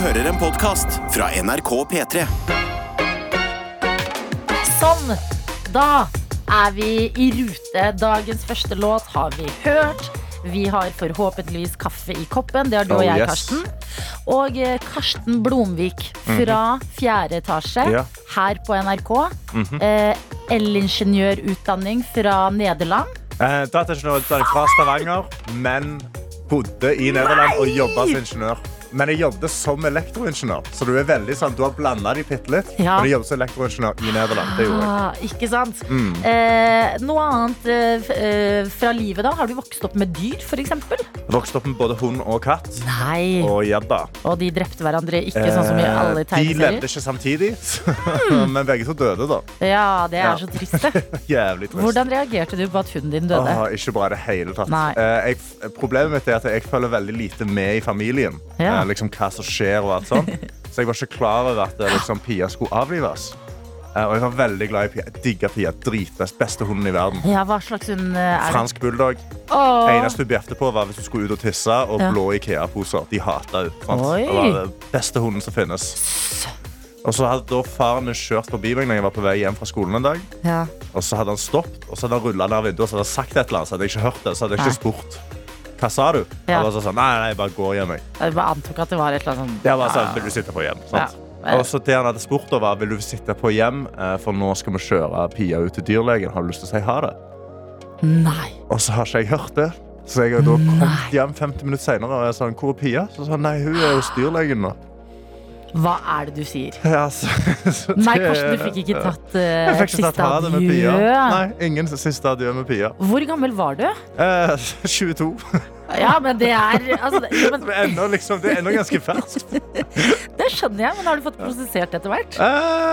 hører en podkast fra NRK P3. Sånn, da er vi i rute. Dagens første låt har vi hørt. Vi har forhåpentligvis kaffe i koppen. Det har du og Oh, jeg, yes. Karsten. Og eh, Karsten Blomvik fra fjerde etasje Mhm. Ja. Mhm. her på NRK. eh, Elingeniørutdanning fra Nederland. Eh, Dataingeniørutdanning fra Stavanger, men bodde i Nederland og jobba som ingeniør. Men jeg jobbet som elektroingeniør, så du er veldig sånn, du har blanda de bitte litt. Ja. Men jeg jobbet som elektroingeniør i Nederland. Det gjorde jeg. Mm. Ah, ikke sant? Eh, noe annet eh, f- eh, fra livet, da? Har du vokst opp med dyr, f.eks.? jeg vokste opp med både hund og katt. Ah. Nei. Og gjedda. Og de drepte hverandre ikke sånn som i alle Eh, de tegneserier? levde Hmm. ikke samtidig, men begge to døde, da. Ja, det er Ja. så trist, det. Jævlig trist. Hvordan reagerte du på at hunden din døde? Åh, ikke bra i det hele tatt. Nei. Eh, jeg, f- problemet mitt er at jeg følger veldig lite med i familien. Ja. Eh, liksom hva som skjer og alt sånt. Så jeg var ikke klar over at eh, liksom, Pia skulle avlives. Eh, og jeg var veldig glad i Pia. Jeg digger Pia. Dritbest. Beste hunden i verden. Ja, hva slags hund eh, er det? Fransk bulldog. Åh. Eneste hun bjefte på, var hvis hun skulle ut og tisse, og Ja. blå Ikea-poser. De hata henne. sant? Oi. Det var den beste hunden som finnes. Og så hadde da faren min kjørt forbi meg når jeg var på vei hjem fra skolen en dag. Ja. Og så hadde han stoppet, og så hadde han rullet ned vinduet og så hadde han sagt et eller annet. Så hadde jeg ikke hørt det, så hadde jeg ikke spurt. Hva sa du? Ja. Han var sånn, nei, nei, jeg bare går hjem. Jeg. Jeg bare antok at det var et eller annet sånn Jeg var sånn, vil du sitte på hjem? Sant? Ja. Og så det han hadde spurt om var, vil du sitte på hjem, Eh, for nå skal vi kjøre Pia ut til dyrlegen. Har du lyst til å si ha det? Nei. Og så har ikke jeg hørt det. Så jeg har da kommet hjem 50 minutter senere og jeg sa, hvor er Pia? Så sa han, nei, hun er hos dyrlegen nå. Hva er det du sier? Ja, så, så Nei, det- Karsten, du fikk ikke tatt altså- Jeg uh, fikk ikke tatt siste ha det med Pia. adjø. Nei, ingen siste adjø med Pia. Hvor gammel var du? Eh, 22. Ja, men det er altså, det- ja, men, Det er ennå, liksom, det er ennå ganske ferskt. Det skjønner jeg, men har du fått prosessert etter hvert?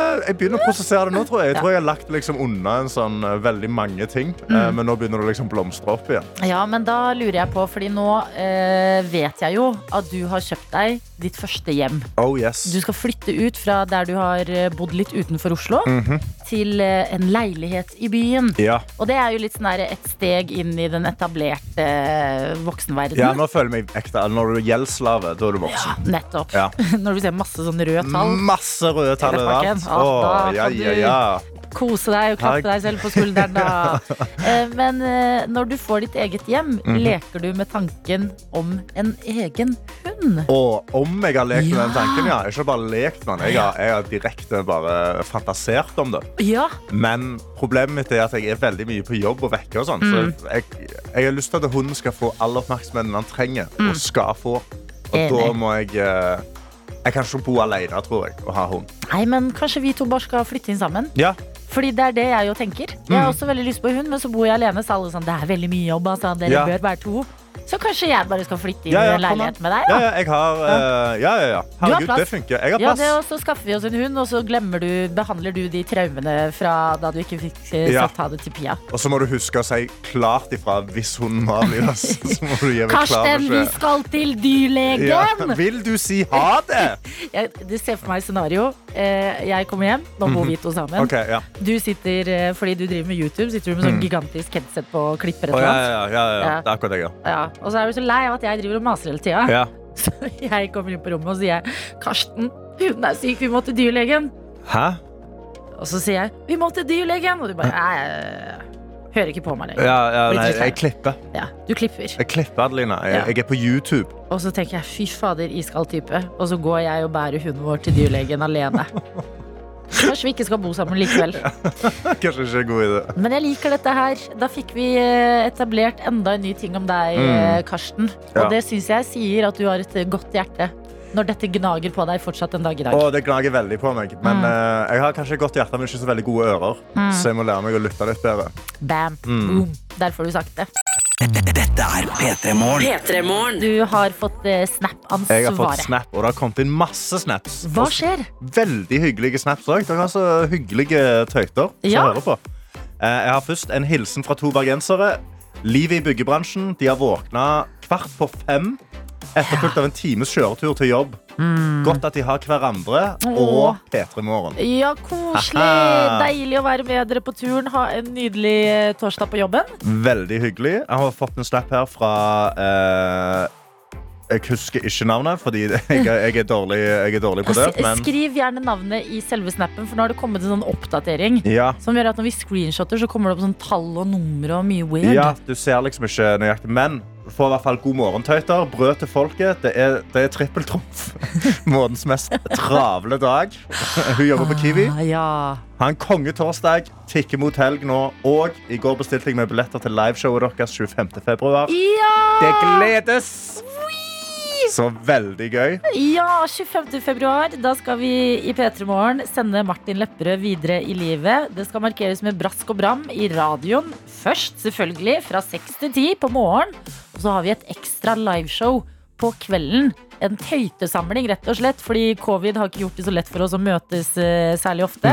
Eh, jeg begynner å prosessere det nå. tror Jeg Jeg Ja. tror jeg har lagt liksom unna en sånn eh, veldig mange ting. Eh, men nå begynner det liksom å blomstre opp igjen. Ja, men da lurer jeg på, fordi nå eh, vet jeg jo at du har kjøpt deg ditt første hjem. Oh yes. Du skal flytte ut fra der du har eh, bodd litt utenfor Oslo, Mhm. til eh, en leilighet i byen. Ja. Og det er jo litt sånn der et steg inn i den etablerte eh, voksenverdenen. ja, nå føler jeg meg ekte. Når du er gjeldsslave, da er du voksen. Nettopp. Ja. Mm. Når du ser masse sånn røde tall. Masse røde tall Telepakken. overalt. Ja, da Å, ja, kan ja, du- ja. Kose deg og klappe deg selv på skulderen, da. Eh, Men eh, når du får ditt eget hjem, Mhm. leker du med tanken om en egen hund. Og om jeg har lekt med den Ja. tanken, ja. Ikke bare lekt med den. Jeg har, jeg har direkte bare fantasert om det. Ja, Men problemet mitt er at jeg er veldig mye på jobb og vekke. Og sånn, Mm. Så jeg, jeg har lyst til at hunden skal få all oppmerksomheten han trenger. Og skal få. Og Mm. Enig. da må jeg eh, Jeg kan ikke bo alene tror jeg, og ha hund. Nei, men kanskje vi to bare skal flytte inn sammen? Ja. Fordi det er det jeg jo tenker. Jeg Mm. har også veldig lyst på hund, men så bor jeg alene, så alle sånn Det er veldig mye jobb, altså. Dere Ja. bør være to. Så kanskje jeg bare skal flytte inn Ja, ja, i en kom leilighet an. med deg, da. Ja, ja, jeg har eh, Ja, ja, ja. har Herregud, plass. det funker. Jeg har Ja, plass. det, og så skaffer vi oss en hund, og så glemmer du, behandler du de traumene fra da du ikke fikk eh, Ja. sagt ha det til Pia. Og så må du huske å si klart ifra hvis hunden må avlives. Så må du gi meg klar Karsten, vi beskjed. skal til Ja. dyrlegen! Vil du si ha det? Jeg, du ser for meg et scenario. Eh, Jeg kommer hjem, nå bor vi to sammen. Mhm. OK, ja. Du sitter, eh, fordi du driver med YouTube, sitter du med sånn gigantisk headset på og klipper et Å, eller ja, annet. ja, ja, ja. Ja. Det er akkurat det jeg gjør. Ja, og så er du så lei av at jeg driver og maser hele tida. Ja. Så jeg kommer inn på rommet og sier Karsten, hunden er syk, vi må til dyrlegen. Hæ? Og så sier jeg vi må til dyrlegen. Og du bare nei, jeg hører ikke på meg lenger. Ja, ja, Blir nei, trist her. jeg klipper. Ja, du klipper. Jeg klipper, Adelina. Jeg, Ja. jeg er på YouTube. Og så tenker jeg fy fader, iskald type. Og så går jeg og bærer hunden vår til dyrlegen alene. Kanskje vi ikke skal bo sammen likevel. Kanskje ikke en god idé. Men jeg liker dette her. Da fikk vi eh, etablert enda en ny ting om deg, eh, Karsten. Og Mm. Ja. det syns jeg sier at du har et eh, godt hjerte. Når dette gnager på deg fortsatt en dag i dag. Å, det gnager veldig på meg. Men Mm. eh, jeg har kanskje et godt hjerte, men ikke så veldig gode ører. Så jeg må lære meg å lytte litt bedre. Bam. Mm. Boom. Der får du sagt det. P3-morgen. Du har fått eh, Jeg har fått Snap-ansvaret. snap, og det har kommet inn masse snaps. Hva Og skjer? Veldig hyggelige snaps òg. Dere har så altså hyggelige tøyter som Ja. hører på. Eh, jeg har først en hilsen fra to bergensere. Livet i byggebransjen. De har våkna kvart på fem. Etterfulgt av en times kjøretur til jobb. Mm. Godt at de har hverandre og P3 Morgen. Ja, koselig. Haha. Deilig å være med dere på turen. Ha en nydelig eh, torsdag på jobben. Veldig hyggelig. Jeg har fått en snap her fra eh, Jeg husker ikke navnet, fordi jeg, jeg, er, dårlig, jeg er dårlig på det. Men Skriv gjerne navnet i selve snappen, for nå har det kommet en sånn oppdatering. ja, Som gjør at når vi screenshotter, så kommer det opp sånn tall og numre og mye weird. ja, du ser liksom ikke nøyaktig. Men få i hvert fall god morgen, tøyter. Brød til folket. Det er, det er trippeltrumf. Månedens mest travle dag. Hun jobber på Kiwi. Ah, ja. Ha en kongetorsdag. Tikker mot helg nå. Og i går bestilte jeg meg billetter til liveshowet deres 25. februar. Det gledes! Så veldig gøy. Ja, 25. februar. Da skal vi i P3 Morgen sende Martin Lepperød videre i livet. Det skal markeres med brask og bram i radioen først, selvfølgelig, fra 6 til 10 på morgen. Og så har vi et ekstra liveshow på kvelden. En tøytesamling, rett og slett, fordi covid har ikke gjort det så lett for oss å møtes eh, særlig ofte.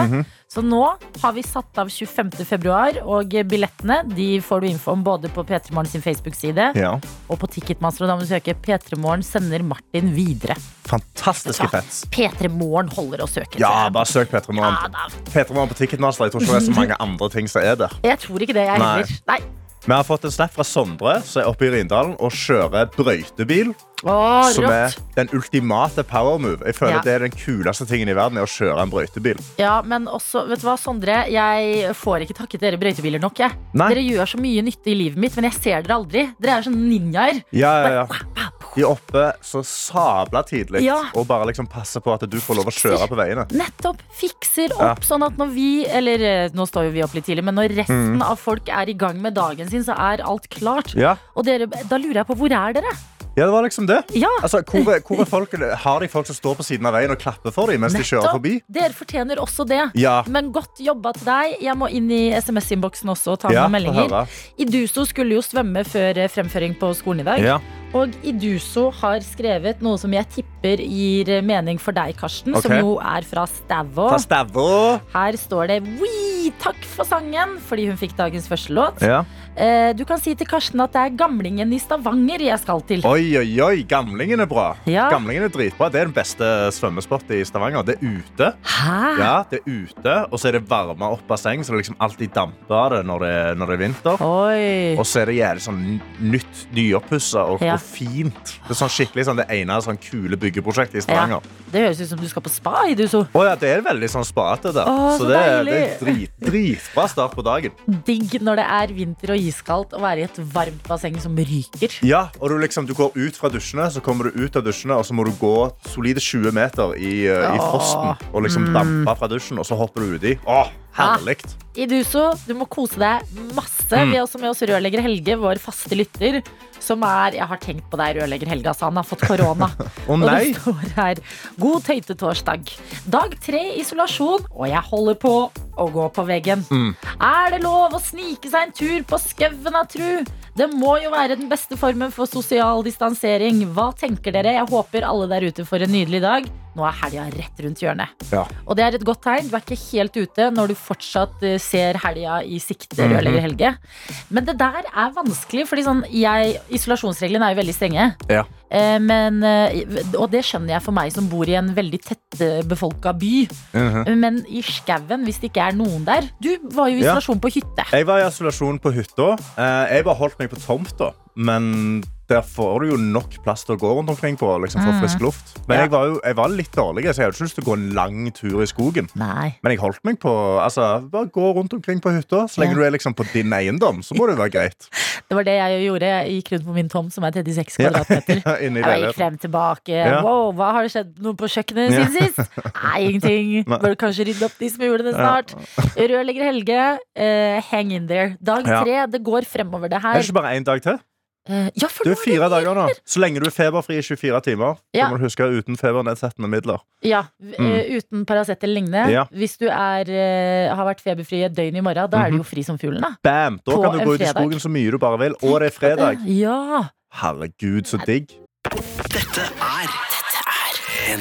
Så nå har vi satt av 25. februar, og billettene de får du info om både på P3 Morgen sin Facebook-side Ja. og på Ticketmaster. Og da må du søke P3 Morgen sender Martin videre. Fantastiske fets. P3 Morgen holder å søke. Ja, tror jeg. bare søk Petra Morgen. Ja, da. Petra Morgen på Ticketmaster. Jeg tror ikke det er så mange andre ting som er der. Jeg tror ikke det, jeg Nei. heller. Nei. Vi har fått en snap fra Sondre, som er oppe i Rindalen og kjører brøytebil. Å, Som er rått. den ultimate power move. Jeg føler Ja. det er den kuleste tingen i verden, er å kjøre en brøytebil. Ja, men også, vet du hva, Sondre, jeg får ikke takket dere brøytebiler nok, jeg. Nei. Dere gjør så mye nytte i livet mitt, men jeg ser dere aldri. Dere er sånn ninjaer. Ja, ja, ja. De er oppe så sabla tidlig Ja. og bare liksom passer på at du får lov å kjøre på veiene. Nettopp. Fikser opp sånn at når vi, eller eh, nå står jo vi opp litt tidlig, men når resten av folk er i gang med dagen sin, så er alt klart. Mm. Ja, Og dere, da lurer jeg på, hvor er dere? ja det var liksom det. Ja, Altså, hvor, er- hvor er folk, har de folk som står på siden av veien og klapper for dem mens de kjører nettopp. forbi? Dere fortjener også det. Ja. Men godt jobba til deg. Jeg må inn i SMS-innboksen også og ta Ja, med få meldinger. høre. Iduso skulle jo svømme før eh, fremføring på skolen i dag. Ja. Og Iduso har skrevet noe som jeg tipper gir eh, mening for deg, Karsten. Ok. Som jo er fra Stavå. Fra Stavå. Her står det «Wii, takk for sangen, fordi hun fikk dagens første låt. Ja. Eh, Du kan si til Karsten at det er gamlingen i Stavanger jeg skal til. Oi, oi, oi. Gamlingen er bra. Ja. Gamlingen er dritbra. Det er den beste svømmesporten i Stavanger. Det er ute. Hæ? Ja, det er ute, og så er det varma opp basseng, så det liksom alltid damper av det når det, når det er vinter. Oi. Og så er det jævlig sånn nytt, nyoppussa og, Ja. og fint. Det er sånn skikkelig sånn det ene sånn kule byggeprosjektet i Ja. Stavanger. Det høres ut som du skal på spa, Iduso. Å ja, det er veldig sånn spate der. Å, så så det, er- det er deilig. drit, dritbra start på dagen. Digg når det er vinter og iskaldt å være i et varmt basseng som ryker. Ja, og du, liksom, du går ut fra dusjene, så kommer du ut av dusjene, og så må du gå solide 20 meter i, eh, i Åh. Mm. frosten og liksom dampe fra dusjen, og så hopper du uti. Å, herlig! Iduso, du må kose deg masse. Mm. Vi har også med oss rørlegger Helge, vår faste lytter, som er Jeg har tenkt på deg, rørlegger Helge, altså. Han har fått korona. Å Og nei! det står her God tøytetorsdag. Dag tre isolasjon, og jeg holder på å gå på veggen. Mm. Er det lov å snike seg en tur på skauen, da, tru? Det må jo være den beste formen for sosial distansering. Hva tenker dere? Jeg håper alle der ute får en nydelig dag. Nå er helga rett rundt hjørnet. Ja. Og det er et godt tegn. Du er ikke helt ute når du fortsatt eh, ser helga i sikte, Mhm. rørlegger Helge. Men det der er vanskelig, fordi sånn, jeg, isolasjonsreglene er jo veldig strenge. Ja. Eh, Men, eh, og det skjønner jeg for meg som bor i en veldig tettbefolka by. Mhm. Men i skauen, hvis det ikke er noen der Du var jo i Ja. isolasjon på hytte. Jeg var i isolasjon på hytta. Eh, Jeg bare holdt meg på tomta. Men der får du jo nok plass til å gå rundt omkring på liksom, for frisk luft. Mm. Men Ja. jeg var jo jeg var litt dårlig, så jeg hadde ikke lyst til å gå en lang tur i skogen. Nei. Men jeg holdt meg på, altså, bare gå rundt omkring på hytta. Så lenge Ja. du er liksom på din eiendom, så må det være greit. Det var det jeg gjorde. Jeg gikk rundt på min tomt, som er 36 kvadratmeter. Inne i Jeg gikk leiligheten. frem tilbake. Ja. Wow, hva har det skjedd noe på kjøkkenet Ja. siden sist? Nei, ingenting. Bør kanskje rydde opp de som gjorde det snart. Rørlegger Helge, eh, hang in there. Dag Ja. tre, det går fremover, det Er her. det ikke bare én dag til? Eh, ja, for Du er nå fire dager nå. Så lenge du er feberfri i 24 timer. Ja. Så må du huske uten febernedsettende midler. Ja, v- Mm. eh, uten Paracet eller lignende. Ja. Hvis du er, eh, har vært feberfri et døgn i morgen, da er Mhm. du jo fri som fuglen, da. Bam! Da På kan du en gå ut i fredag. skogen så mye du bare vil. Og det er fredag. Ja. Herregud, så digg.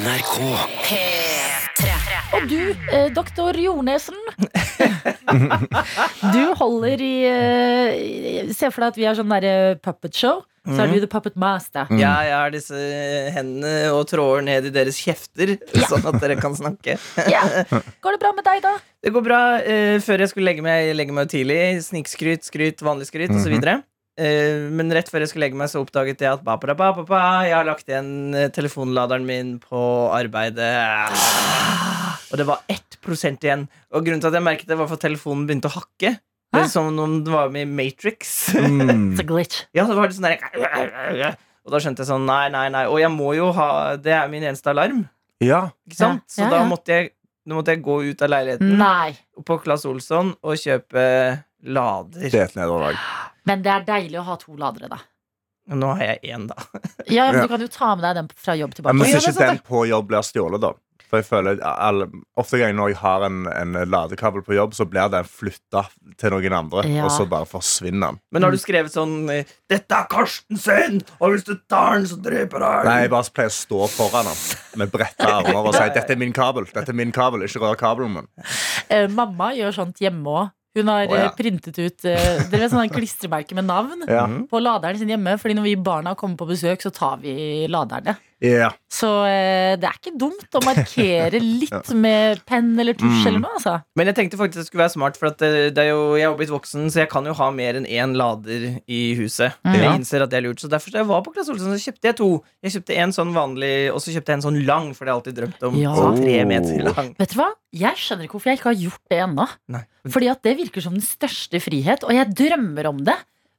NRK. Og du, eh, doktor Jornesen. du holder i eh, i- Se for deg at vi har sånn derre puppet show. Så Mhm. er du the puppet master. Ja, jeg har disse hendene og tråder ned i deres kjefter, sånn at dere kan snakke. Ja. Går det bra med deg, da? Det går bra. eh, før jeg skulle legge meg, legge meg tidlig, snikskryt, skryt, vanlig skryt osv. Eh, men rett før jeg skulle legge meg, så oppdaget jeg at ba, ba, ba, ba, ba, jeg har lagt igjen eh, telefonladeren min på arbeidet. Og det var 1 igjen. Og grunnen til at jeg merket det, var for at telefonen begynte å hakke. Det Hæ? er som om den var med i Matrix. Mm. It's a glitch. Ja, det var litt sånn der Og da skjønte jeg sånn, nei, nei, nei Og jeg må jo ha, det er min eneste alarm Ja. Ikke sant? Ja, ja, Så da ja. måtte jeg, nå måtte jeg gå ut av leiligheten Mm. Nei. På Klaas Olsson og kjøpe lader Det er et nederlag. Men det er deilig å ha to ladere, da. Og Nå har jeg en da Ja, men Ja. Du kan jo ta med deg den fra jobb Ja, tilbake. men Ja, hvis det er ikke den sant, på jobb blir stjålet, da. For jeg føler alle, Ofte ganger når jeg har en, en ladekabel på jobb, så blir den flytta til noen andre. Ja. Og så bare forsvinner den. Men Mm. har du skrevet sånn eh, Dette er Karsten sin Og hvis du tar den så dreper jeg Nei, jeg bare pleier å stå foran den med bretta armer og si 'Dette er min kabel', dette er min kabel, ikke rør kabelen min. Eh, mamma gjør sånt hjemme òg. Hun har Å, ja. eh, printet ut eh, Dere vet sånne klistremerker med navn Ja. på laderen sin hjemme. Fordi når vi barna kommer på besøk, så tar vi laderne. Ja. Så eh, det er ikke dumt å markere litt med penn eller tusj Mm. eller noe, altså. Men jeg tenkte faktisk det skulle være smart For at eh, det er jo, jeg har jo blitt voksen Så jeg kan jo ha mer enn en lader i huset Mm. Jeg Ja. innser at det er lurt Så derfor da jeg var på Klaas Olsson så kjøpte jeg to Jeg kjøpte en sånn vanlig Og så kjøpte jeg en sånn lang For det har jeg alltid drømt om Ja. Sånn Oh. tre meter lang Vet du hva? Jeg skjønner ikke hvorfor jeg ikke har gjort det ennå. Nei. Fordi at det virker som den største frihet, og jeg drømmer om det.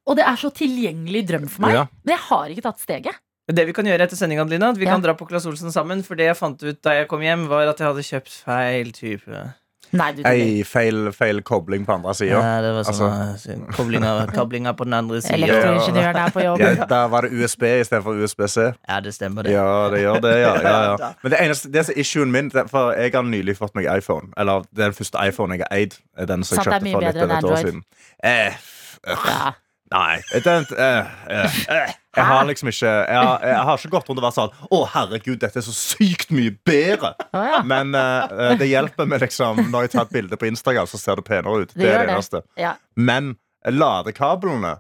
Og det er så tilgjengelig drøm for meg. Ja. Men jeg har ikke tatt steget. Men Det vi kan gjøre etter sendinga, Adelina, at vi Ja. kan dra på Claes Olsen sammen. For det jeg fant ut da jeg kom hjem, var at jeg hadde kjøpt feil type. Nei, du tuller. Ei feil, feil kobling på andre sida. Ja, det var sånn Altså. eh, koblinga, kablinga på den andre sida. Elektroingeniøren er på jobb. Ja, der var det USB istedenfor USBC. Ja, det stemmer, det. Ja, det gjør det. Ja, ja, ja. Men det eneste, det som er issuen min det er For jeg har nylig fått meg iPhone. Eller det er den første iPhone jeg har eid. er Den som Sant, jeg det er kjøpte mye for litt bedre over enn et år Android. siden. Eh, øh, Ja. nei. Den, eh, eh, eh. Jeg har liksom ikke Jeg har, jeg har ikke gått rundt og vært sånn Å, herregud, dette er så sykt mye bedre. Å, ja. Men eh, eh, det hjelper med liksom når jeg tar et bilde på Instagram, så ser det penere ut. Det, gjør er det. det eneste. Ja. Men ladekablene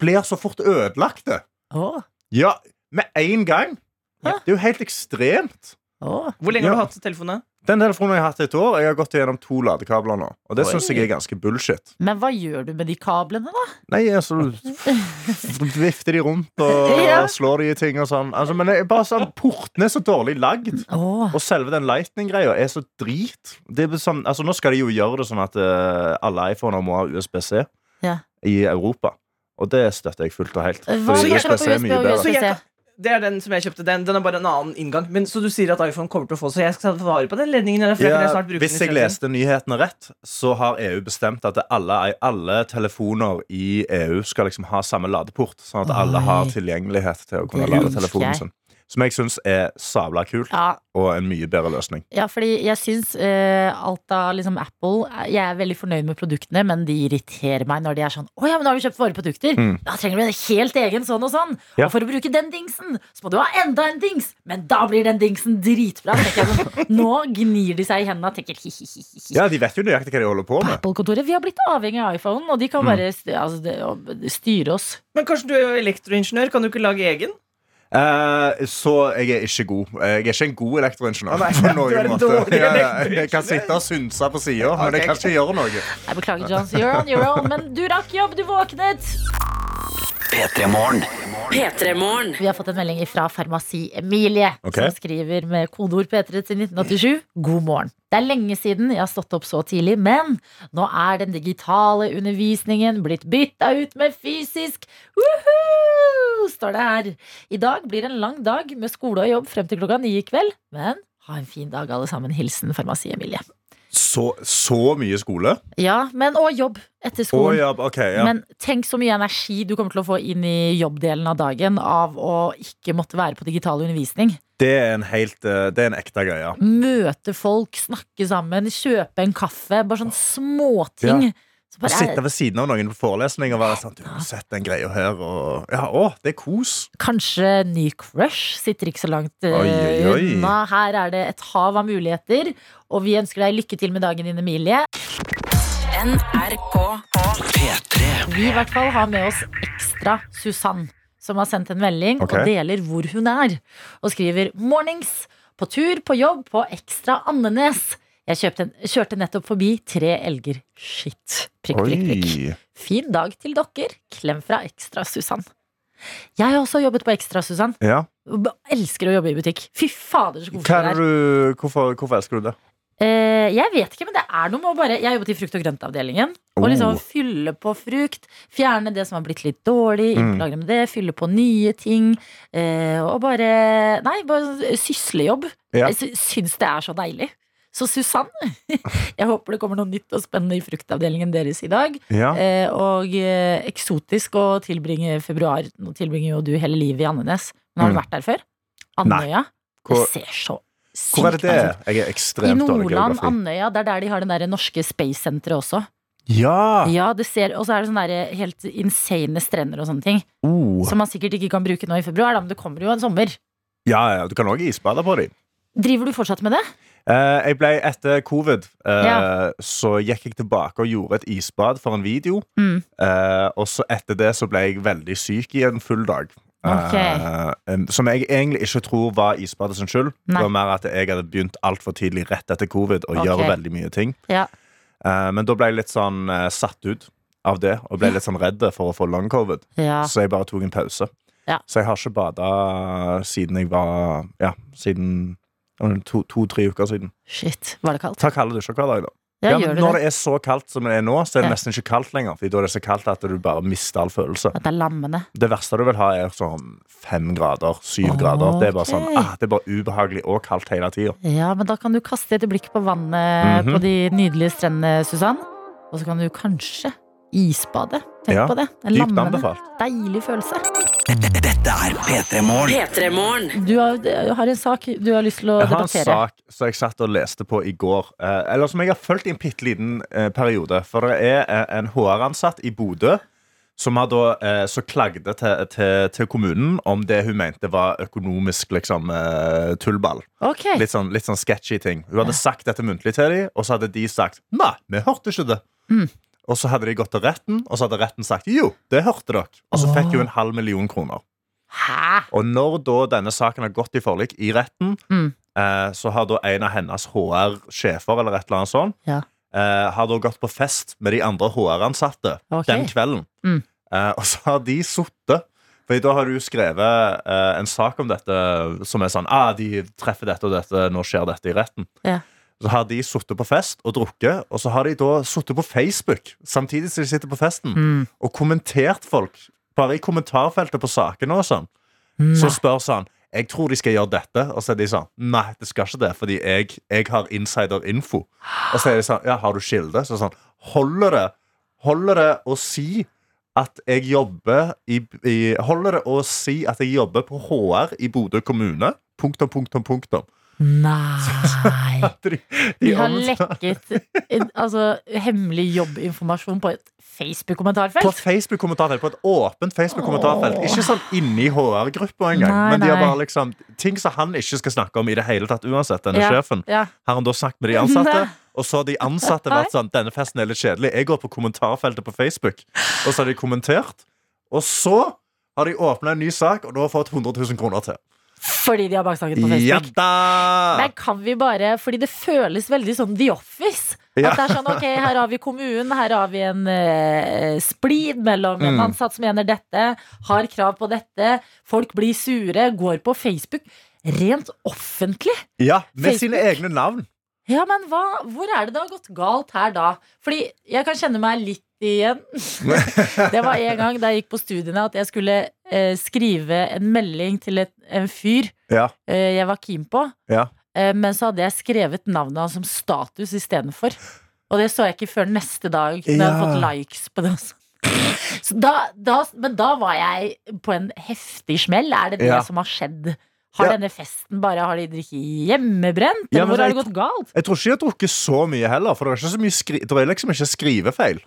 blir så fort ødelagte. Å, Ja, med én gang. Hæ? Det er jo helt ekstremt. å. Hvor lenge Ja. har du hatt telefonen? da? Den telefonen jeg har hatt i et år, jeg har gått gjennom to ladekabler nå. Og det Oi. syns jeg er ganske bullshit. Men hva gjør du med de kablene, da? Nei, altså du Vifter de rundt og Ja. slår de i ting og sånn. Altså, men det er bare sånn, Portene er så dårlig lagd. Åh, Og selve den lightning-greia er så drit. Det er sånn, altså, nå skal de jo gjøre det sånn at eh, alle iPhoner må ha USBC Ja. i Europa. Og det støtter jeg fullt og helt. Hva Så Fordi jeg forskjell USBC på er USB mye og bedre. Så jeg, USBC? det er den som jeg kjøpte. Den, den er bare en annen inngang. Men Så du sier at iPhone kommer til å få, så jeg skal ta vare på den ledningen. eller, For jeg kan snart bruke hvis den i jeg stedet. leste nyhetene rett, så har EU bestemt at alle, alle telefoner i EU skal liksom ha samme ladeport, sånn at alle Oi. har tilgjengelighet til å kunne Det lade elsker telefonen jeg. sin. Som jeg syns er sabla kult, Ja, og en mye bedre løsning. ja, fordi jeg syns eh, alt av liksom Apple eh, Jeg er veldig fornøyd med produktene, men de irriterer meg når de er sånn Å ja, men nå har vi kjøpt våre produkter. Mm. Da trenger du en helt egen sånn og sånn. Ja. Og for å bruke den dingsen, så må du ha enda en dings. Men da blir den dingsen dritbra. tenker jeg sånn. Nå gnir de seg i hendene og tenker hi-hi-hi. Ja, De vet jo nøyaktig hva de holder på med. Apple-kontoret, Vi har blitt avhengig av iPhone, og de Mm. kan bare st- altså, det- og- styre oss. Men kanskje du er jo elektroingeniør? Kan du ikke lage egen? Eh, så jeg er ikke god. Jeg er ikke en god Å, elektroingeniør. nei, på du er en noen dårlig måte. Ja, ja, jeg kan elektroingeniør. sitte og synse på sida, men jeg kan ikke gjøre noe. Jeg beklager, John. så You're on your own. Men du rakk jobb, du våknet. P3-morgen. P3-morgen. Vi har fått en melding fra Farmasi Emilie, Ok. som skriver med kodeord P3 til 1987 God morgen. Det er lenge siden jeg har stått opp så tidlig, men nå er den digitale undervisningen blitt bytta ut med fysisk. Woohoo! Står det her. I dag blir en lang dag med skole og jobb frem til klokka ni i kveld, men ha en fin dag, alle sammen. Hilsen Farmasi Emilie. Så, så mye skole? Ja, men og jobb etter Å skolen. ja, ok. Ja. Men tenk så mye energi du kommer til å få inn i jobbdelen av dagen av å ikke måtte være på digital undervisning. Det er en helt eh, Det er en ekte greie. Møte folk, snakke sammen, kjøpe en kaffe. Bare sånne småting. Så Å bare, sitte er, ved siden av noen på forelesning og være sånn Du har sett den greia her, og Ja, å, det er kos. kanskje ny crush sitter ikke så langt eh, Oi, oi, oi. unna. Her er det et hav av muligheter, og vi ønsker deg lykke til med dagen din, Emilie. NRK. Vi i hvert fall har med oss ekstra Susann, som har sendt en melding Ok. og deler hvor hun er. Og skriver 'mornings'. På tur, på jobb, på ekstra Andenes. Jeg kjøpte, en- kjørte nettopp forbi tre elger. Shit. Prikk, prikk, prikk. Oi. Fin dag til dere. Klem fra Ekstra-Susann. Jeg har også jobbet på Ekstra-Susann. Ja. Elsker å jobbe i butikk. Fy fader, så koselig Hva det er. er det du, hvorfor, hvorfor elsker du det? Eh, jeg vet ikke, men det er noe med å bare Jeg har jobbet i frukt- og grøntavdelingen. Og liksom Oh. fylle på frukt. Fjerne det som har blitt litt dårlig. Mm. Innlagre med det. Fylle på nye ting. eh, og bare Nei, bare sånn syslejobb. Ja. Jeg sy- syns det er så deilig. Så Susann, jeg håper det kommer noe nytt og spennende i fruktavdelingen deres i dag. Ja. Eh, og eh, eksotisk å tilbringe februar. Nå tilbringer jo du hele livet i Andenes. Men har du Mm. vært der før? Nei. Andøya? Hvor, det ser så sykt hvor er det det? deilig ut. er? Jeg er I ekstremt dårlig i Nordland, geografi. Andøya, det er der de har det der norske space-senteret også. Ja! Ja, det ser, Og så er det sånne der helt insane strender og sånne ting. Oh. Som man sikkert ikke kan bruke nå i februar, da, men det kommer jo en sommer. ja, ja. Du kan òg isbade på dem. Driver du fortsatt med det? Eh, jeg ble etter covid, eh, Ja. så gikk jeg tilbake og gjorde et isbad for en video. Mm. Eh, og så etter det så ble jeg veldig syk i en full dag. Ok. Eh, em, som jeg egentlig ikke tror var isbadet sin skyld. Nei. Det var mer at jeg hadde begynt altfor tidlig rett etter covid og Ok. gjør veldig mye ting. Ja. Eh, men da ble jeg litt sånn eh, satt ut av det, og ble litt sånn redd for å få long covid. Ja. Så jeg bare tok en pause. Ja. Så jeg har ikke bada siden jeg var Ja, siden eh, to-tre uker siden. Shit, var det kaldt? Ta kalde dusjer hver dag, da. Ja, Ja, men gjør du når det? det er så kaldt som det er nå, så er det Ja. nesten ikke kaldt lenger. Fordi da er det så kaldt at du bare mister all følelse. At det er lammende. Det verste du vil ha, er sånn fem grader, syv Ok. grader. Det er bare sånn, ah, det er bare ubehagelig og kaldt hele tida. Ja, men da kan du kaste et blikk på vannet Mhm. på de nydelige strendene, Susann. Og så kan du kanskje isbade. Tenk Ja, på det. En Dypt lammende, anbefalt. deilig følelse. Dette er P3 Morgen. P3-morgen. Du har, du har en sak du har lyst til å Jeg har en debattere. sak som jeg satt og leste på i går. Eh, eller som jeg har fulgt i en bitte liten eh, periode. For det er eh, en HR-ansatt i Bodø som har da eh, så klagde til, til, til kommunen om det hun mente var økonomisk liksom, eh, tullball. Ok, Litt sånn, litt sånn sketchy ting. Hun hadde sagt dette muntlig til dem, og så hadde de sagt nei, vi hørte ikke det. Mm. Og så hadde de gått til retten, og så hadde retten sagt jo, det hørte dere. Og så fikk Åh. hun en halv million kroner. Hæ? Og når da denne saken har gått i forlik i retten, Mm. eh, så har da en av hennes HR-sjefer eller et eller annet sånt, Ja. eh, har da gått på fest med de andre HR-ansatte Ok. den kvelden. Mm. Eh, og så har de sittet. For da har du skrevet eh, en sak om dette som er sånn ah, de treffer dette og dette, nå skjer dette i retten. Ja. Så har de sittet på fest og drukket, og så har de da sittet på Facebook samtidig som de sitter på festen, Mm. og kommentert folk. Bare i kommentarfeltet på sakene og sånn. Så spør han jeg tror de skal gjøre dette, og så er de sånn Nei, det skal ikke det, fordi jeg, jeg har insider-info. Og så er de sånn Ja, har du kilde? Så sånn Holder det Holder det å si at jeg jobber i, i Holder det å si at jeg jobber på HR i Bodø kommune? Punktum, punktum, punktum. Nei. De, De har omtaler- lekket en- altså, hemmelig jobbinformasjon på et På Facebook-kommentarfelt. Facebook-kommentarfelt, på et åpent Facebook-kommentarfelt. Åh. Ikke sånn inni HR-gruppa engang. Nei, Men de har nei. bare liksom ting som han ikke skal snakke om i det hele tatt, uansett, denne Ja. sjefen. Ja. Har han da sagt med de ansatte? Nei. Og så har de ansatte vært sånn Denne festen er litt kjedelig. Jeg går på kommentarfeltet på Facebook. Og så har de kommentert. Og så har de åpna en ny sak, og nå har fått 100 000 kroner til. Fordi de har baksnakket på Ja Facebook. da! Der kan vi bare, fordi det føles veldig sånn The Office. Ja. At det er sånn, ok, her har vi kommunen, her har vi en eh, splid mellom en Mm. ansatt som mener dette, har krav på dette, folk blir sure, går på Facebook. Rent offentlig? Ja, med Facebook. sine egne navn. Ja, men hva, hvor er det det har gått galt her da? Fordi jeg kan kjenne meg litt igjen. det var en gang da jeg gikk på studiene at jeg skulle eh, skrive en melding til et, en fyr Ja. eh, jeg var keen på. Ja. Eh, men så hadde jeg skrevet navnet hans som status istedenfor. Og det så jeg ikke før neste dag, da jeg hadde Ja. fått likes på det. også. Så da, da, men da var jeg på en heftig smell. Er det det Ja. som har skjedd? Har Ja. denne festen bare Har de drukket hjemmebrent? Ja, Eller men hvor har jeg det gått galt? Jeg tror ikke de har drukket så mye heller, for det er, ikke så mye skri det er liksom ikke skrivefeil.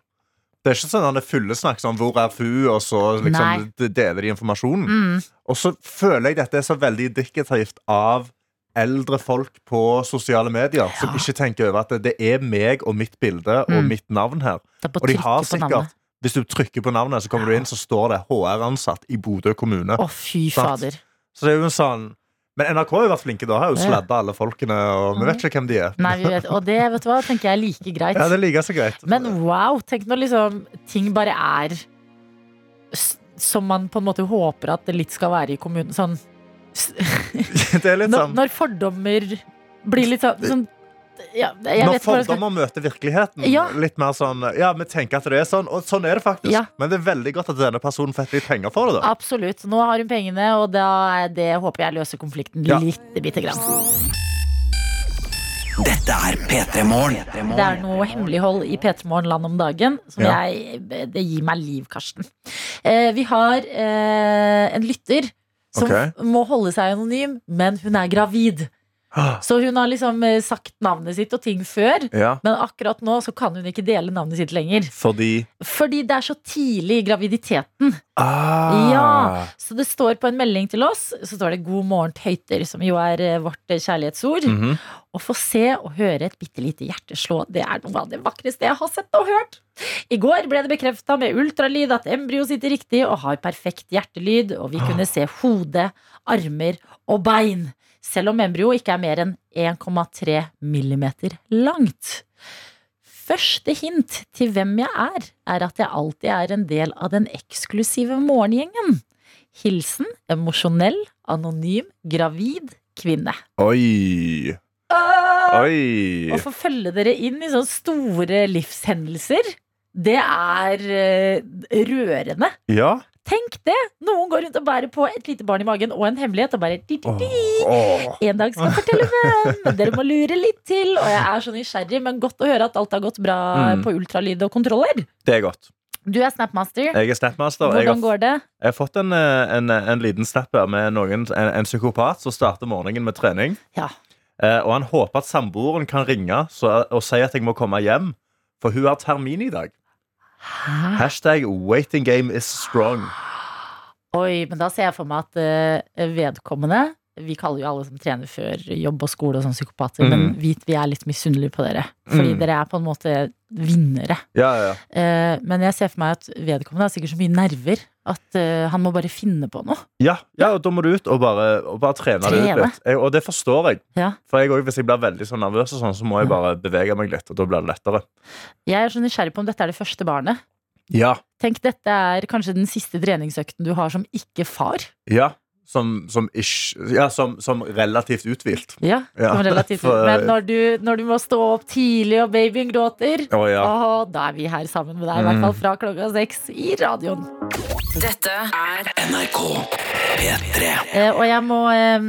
Det er ikke sånn han er fullesnakk sånn 'Hvor er fu?' og så liksom d- deler de informasjonen. Mm. Og så føler jeg dette er så veldig indikativt av eldre folk på sosiale medier som ikke tenker over at det, det er meg og mitt bilde og Mm. mitt navn her. Det er på Og de trykket har på sikkert navnet. Hvis du trykker på navnet, så kommer du inn, så står det HR-ansatt i Bodø kommune. Å, fy Sant. fader. Så det er jo en sånn Men NRK har jo vært flinke da. Har jo Ja. sladda alle folkene, og vi vet ikke hvem de er. Nei, vi vet, og det vet du hva, tenker jeg er like greit. Ja, det liker jeg så greit. Men wow, tenk når liksom ting bare er s- som man på en måte håper at det litt skal være i kommunen. Sånn, det er litt når, sånn når fordommer blir litt sånn, sånn ja, jeg Når vet ikke hvordan jeg skal- fordommer møter virkeligheten. Ja. Litt mer sånn Ja, vi tenker at det er sånn, og sånn er det faktisk. Ja. Men det er veldig godt at denne personen fikk litt penger for det. da Absolutt. Nå har hun pengene, og da er det håper jeg løser konflikten Ja. litt. bitte grann. Dette er P3 Morgen. Det er noe hemmelighold i P3 Morgenland om dagen som Ja. jeg Det gir meg liv, Karsten. Eh, vi har eh, en lytter som Ok. f- må holde seg anonym, men hun er gravid. Ah. Så hun har liksom eh, sagt navnet sitt og ting før. Ja. Men akkurat nå så kan hun ikke dele navnet sitt lenger. Fordi Fordi det er så tidlig i graviditeten. Ah. Ja. Så det står på en melding til oss, så står det 'God morgen, tøyter', som jo er eh, vårt eh, kjærlighetsord. Mhm. Å få se og høre et bitte lite hjerte slå, det er noe av det vakreste jeg har sett og hørt. I går ble det bekrefta med ultralyd at embryo sitter riktig og har perfekt hjertelyd, og vi kunne se hode, armer og bein. Selv om embryo ikke er mer enn 1,3 millimeter langt. Første hint til hvem jeg er, er at jeg alltid er en del av den eksklusive morgengjengen. Hilsen emosjonell, anonym, gravid kvinne. Oi. Ah. Oi. Å få følge dere inn i sånne store livshendelser, det er eh, rørende. Ja. Tenk det! Noen går rundt og bærer på et lite barn i magen og en hemmelighet og bare di, di, Åh, di. åh. En dag skal jeg fortelle hvem, men dere må lure litt til. Og jeg er så nysgjerrig, men godt å høre at alt har gått bra Mm. på ultralyd og kontroller. Det er godt. Du er Snapmaster. Jeg er Snapmaster. Jeg har, Hvordan går det? jeg har fått en, eh, en, en liten snap her med noen, en, en psykopat som starter morgenen med trening. Ja. Eh, og han håper at samboeren kan ringe så, og si at jeg må komme hjem, for hun har termin i dag. Hæ? Hashtag waiting game is strong. Oi, men da ser jeg for meg at eh, vedkommende Vi kaller jo alle som trener før jobb og skole og sånn psykopater, Mm. men vit vi er litt misunnelige på dere. Fordi Mm. dere er på en måte vinnere. Ja, ja, ja. Eh, men jeg ser for meg at vedkommende har sikkert så mye nerver at eh, han må bare finne på noe. Ja, ja, og da må du ut og bare, og bare trene, det ut Trene. litt. Jeg, og det forstår jeg. Ja. For jeg også, hvis jeg blir veldig sånn nervøs, og sånn, så må jeg bare bevege meg litt. Og da blir det lettere. Jeg er så nysgjerrig på om dette er det første barnet. Ja, Tenk, dette er kanskje den siste treningsøkten du har som ikke far. ja. Som, som, ish, ja, som, som relativt uthvilt. Ja, Ja, som relativt for- Men når du, når du må stå opp tidlig og babyen gråter, Å ja. Mm. Åh, da er vi her sammen med deg, i hvert fall fra klokka seks i radioen. Dette er NRK P3. Eh, og jeg må eh,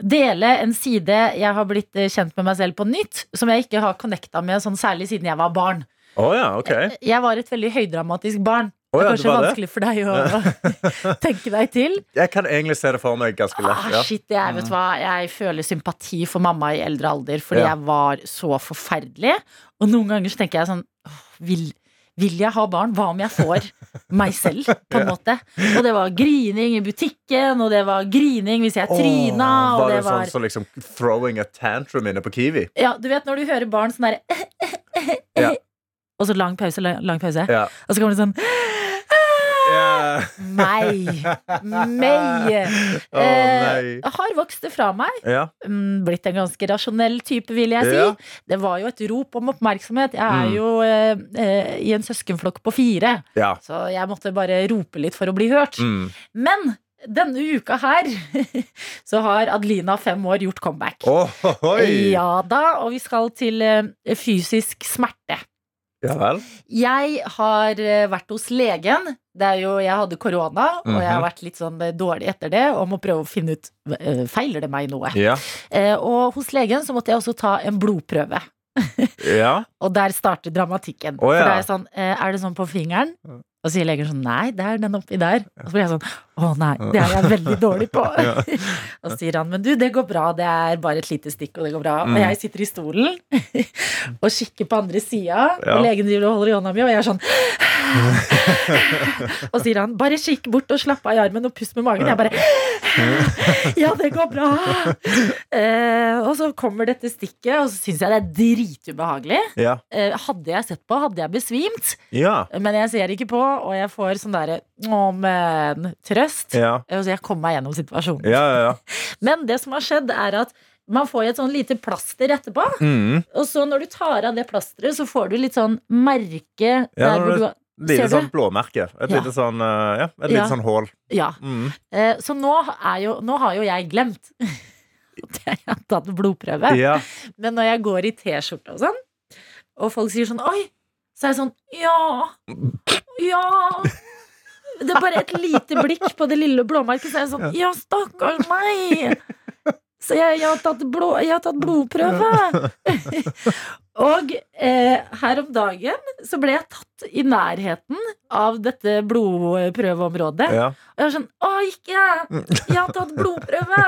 dele en side jeg har blitt eh, kjent med meg selv på nytt, som jeg ikke har connecta med sånn særlig siden jeg var barn. Å ja, ok. Jeg var et veldig høydramatisk barn. Det Å er ja, det kanskje var det. vanskelig for deg å tenke deg til. Jeg kan egentlig se det for meg ganske lett. Ah, Ja. shit, jeg, vet du hva? jeg føler sympati for mamma i eldre alder fordi Ja. jeg var så forferdelig. Og noen ganger så tenker jeg sånn åh, vil, vil jeg ha barn? Hva om jeg får meg selv? På en måte. Og det var grining i butikken, og det var grining hvis jeg tryna. Åh, og var det du var... sånn som liksom throwing a tantrum inne på Kiwi? Ja, du vet når du hører barn sånn derre Eh, Ja. Og så lang pause, lang, lang pause. Ja. Og så kommer det sånn ah!» Ja. Meg! Meg! Å, nei. Eh, har vokst det fra meg. ja. Mm, Blitt en ganske rasjonell type, vil jeg si. Ja. Det var jo et rop om oppmerksomhet. Jeg er Mm. jo eh, eh, i en søskenflokk på fire, ja. så jeg måtte bare rope litt for å bli hørt. Mm. Men denne uka her så har Adelina, fem år, gjort comeback. Åh, oi. Ja. Ja da, og vi skal til eh, fysisk smerte. vel. Jeg har eh, vært hos legen. Det er jo, jeg hadde korona, og jeg har Mhm. vært litt sånn eh, dårlig etter det og må prøve å finne ut eh, feiler det meg noe. Ja. Eh, og hos legen så måtte jeg også ta en blodprøve. ja. Og der starter dramatikken. Å, ja. For da er jeg sånn, eh, er det sånn på fingeren? Og sier legen sånn, nei, det er den oppi der. Og så blir jeg sånn, å nei, det er jeg veldig dårlig på. Ja. og så sier han, men du, det går bra, det er bare et lite stikk, og det går bra. Mm. Og jeg sitter i stolen og kikker på andre sida, Ja. og legen driver og holder i hånda mi, og jeg er sånn Og sier han, bare kikk bort og slapp av i armen og pust med magen. Jeg bare Ja, det går bra. Eh, Og så kommer dette stikket, og så syns jeg det er dritubehagelig. Ja. Eh, Hadde jeg sett på, hadde jeg besvimt. Ja. Men jeg ser ikke på, og jeg får sånn derre å, men trøst. Ja. Og så jeg kom meg gjennom situasjonen. Ja, ja, ja. Men det som har skjedd, er at man får jo et sånn lite plaster etterpå. Mm. Og så når du tar av det plasteret, så får du litt sånn merke der når hvor det- du har Lite Ser du? sånn blåmerke. Et Ja. lite sånn, eh, ja, et Ja. lite sånn hål. Ja. Mm. Eh, Så nå, er jo, nå har jo jeg glemt at jeg har tatt blodprøve. Ja. Men når jeg går i T-skjorte og sånn, og folk sier sånn Oi! Så er jeg sånn Ja! Ja! Det er bare et lite blikk på det lille blåmerket, så er jeg sånn Ja, stakkars meg! Så jeg, jeg, har tatt blå, jeg har tatt blodprøve! Og eh, her om dagen så ble jeg tatt i nærheten av dette blodprøveområdet. Ja. Og jeg var sånn Å, ikke! Jeg har tatt blodprøve!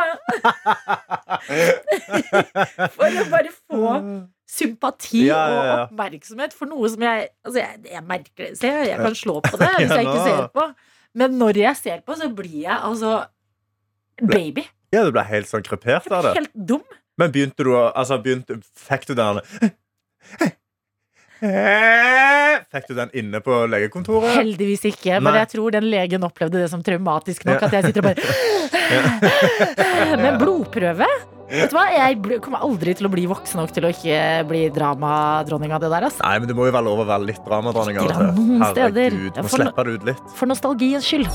For å bare få sympati Ja, ja, ja. og oppmerksomhet for noe som jeg Altså, jeg, jeg merker det. Se, jeg kan slå på det hvis jeg ikke nå. ser på. Men når jeg ser på, så blir jeg altså Baby. ja, du ble helt sånn krepert av det. Helt dum. Men begynte du å altså, begynte, Fikk du den Fikk du den inne på legekontoret? Heldigvis ikke. Nei. Men jeg tror den legen opplevde det som traumatisk nok at jeg sitter og bare Men blodprøve? Vet du hva? Jeg bl- kommer aldri til å bli voksen nok til å ikke bli dramadronning av det der. altså. ass. Nei, men det må jo være lov å være litt dramadronning. av og Litt til. noen steder. Herregud, Ja, må for nå- slippe det ut litt. For nostalgiens skyld.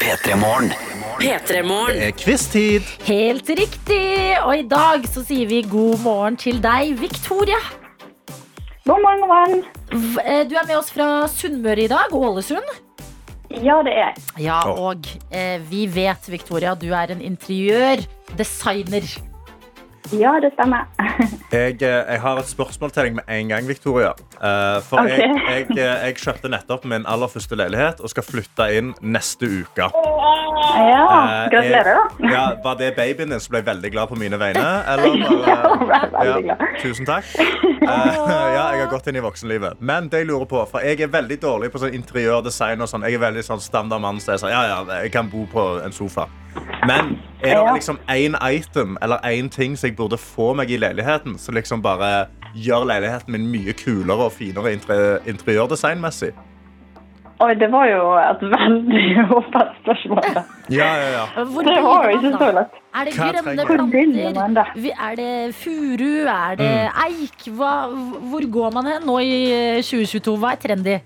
P3-morgen. P3morgen. Det er quiz-tid. Helt riktig! Og i dag så sier vi god morgen til deg, Victoria. God morgen, god morgen. V- eh, Du er med oss fra Sunnmøre i dag, Ålesund. Ja, det er jeg. Ja, Ja. og eh, vi vet, Victoria, du er en interiørdesigner. Ja, det stemmer. Jeg, eh, jeg har et spørsmål til deg med en gang, Victoria. Eh, for Ok. jeg, jeg, eh, jeg kjøpte nettopp min aller første leilighet og skal flytte inn neste uke. Ja, Eh, gratulerer, jeg- da. Ja, var det babyen din som ble veldig glad på mine vegne? Eller Ja, bare, jeg er veldig eh, ja, glad. tusen takk. Eh, ja, jeg har gått inn i voksenlivet. Men det jeg lurer på, for jeg er veldig dårlig på sånn interiørdesign og sånn. Jeg er veldig sånn standard mann, så jeg sier ja, ja, jeg kan bo på en sofa. Men er det Ja. liksom én item eller én ting som jeg burde få meg i leiligheten, som liksom bare gjør leiligheten min mye kulere og finere inter interiørdesignmessig? Oi, det var jo et veldig åpent spørsmål. da. Ja, ja, ja. Hvor Det blir var jo man ikke da? så lett. Er det Hva grønne trenger man? Hvor begynner man da? planter? Vi- Er det furu? Er det Mm. eik? Hva, hvor går man hen nå i eh, 2022? Hva er trendy?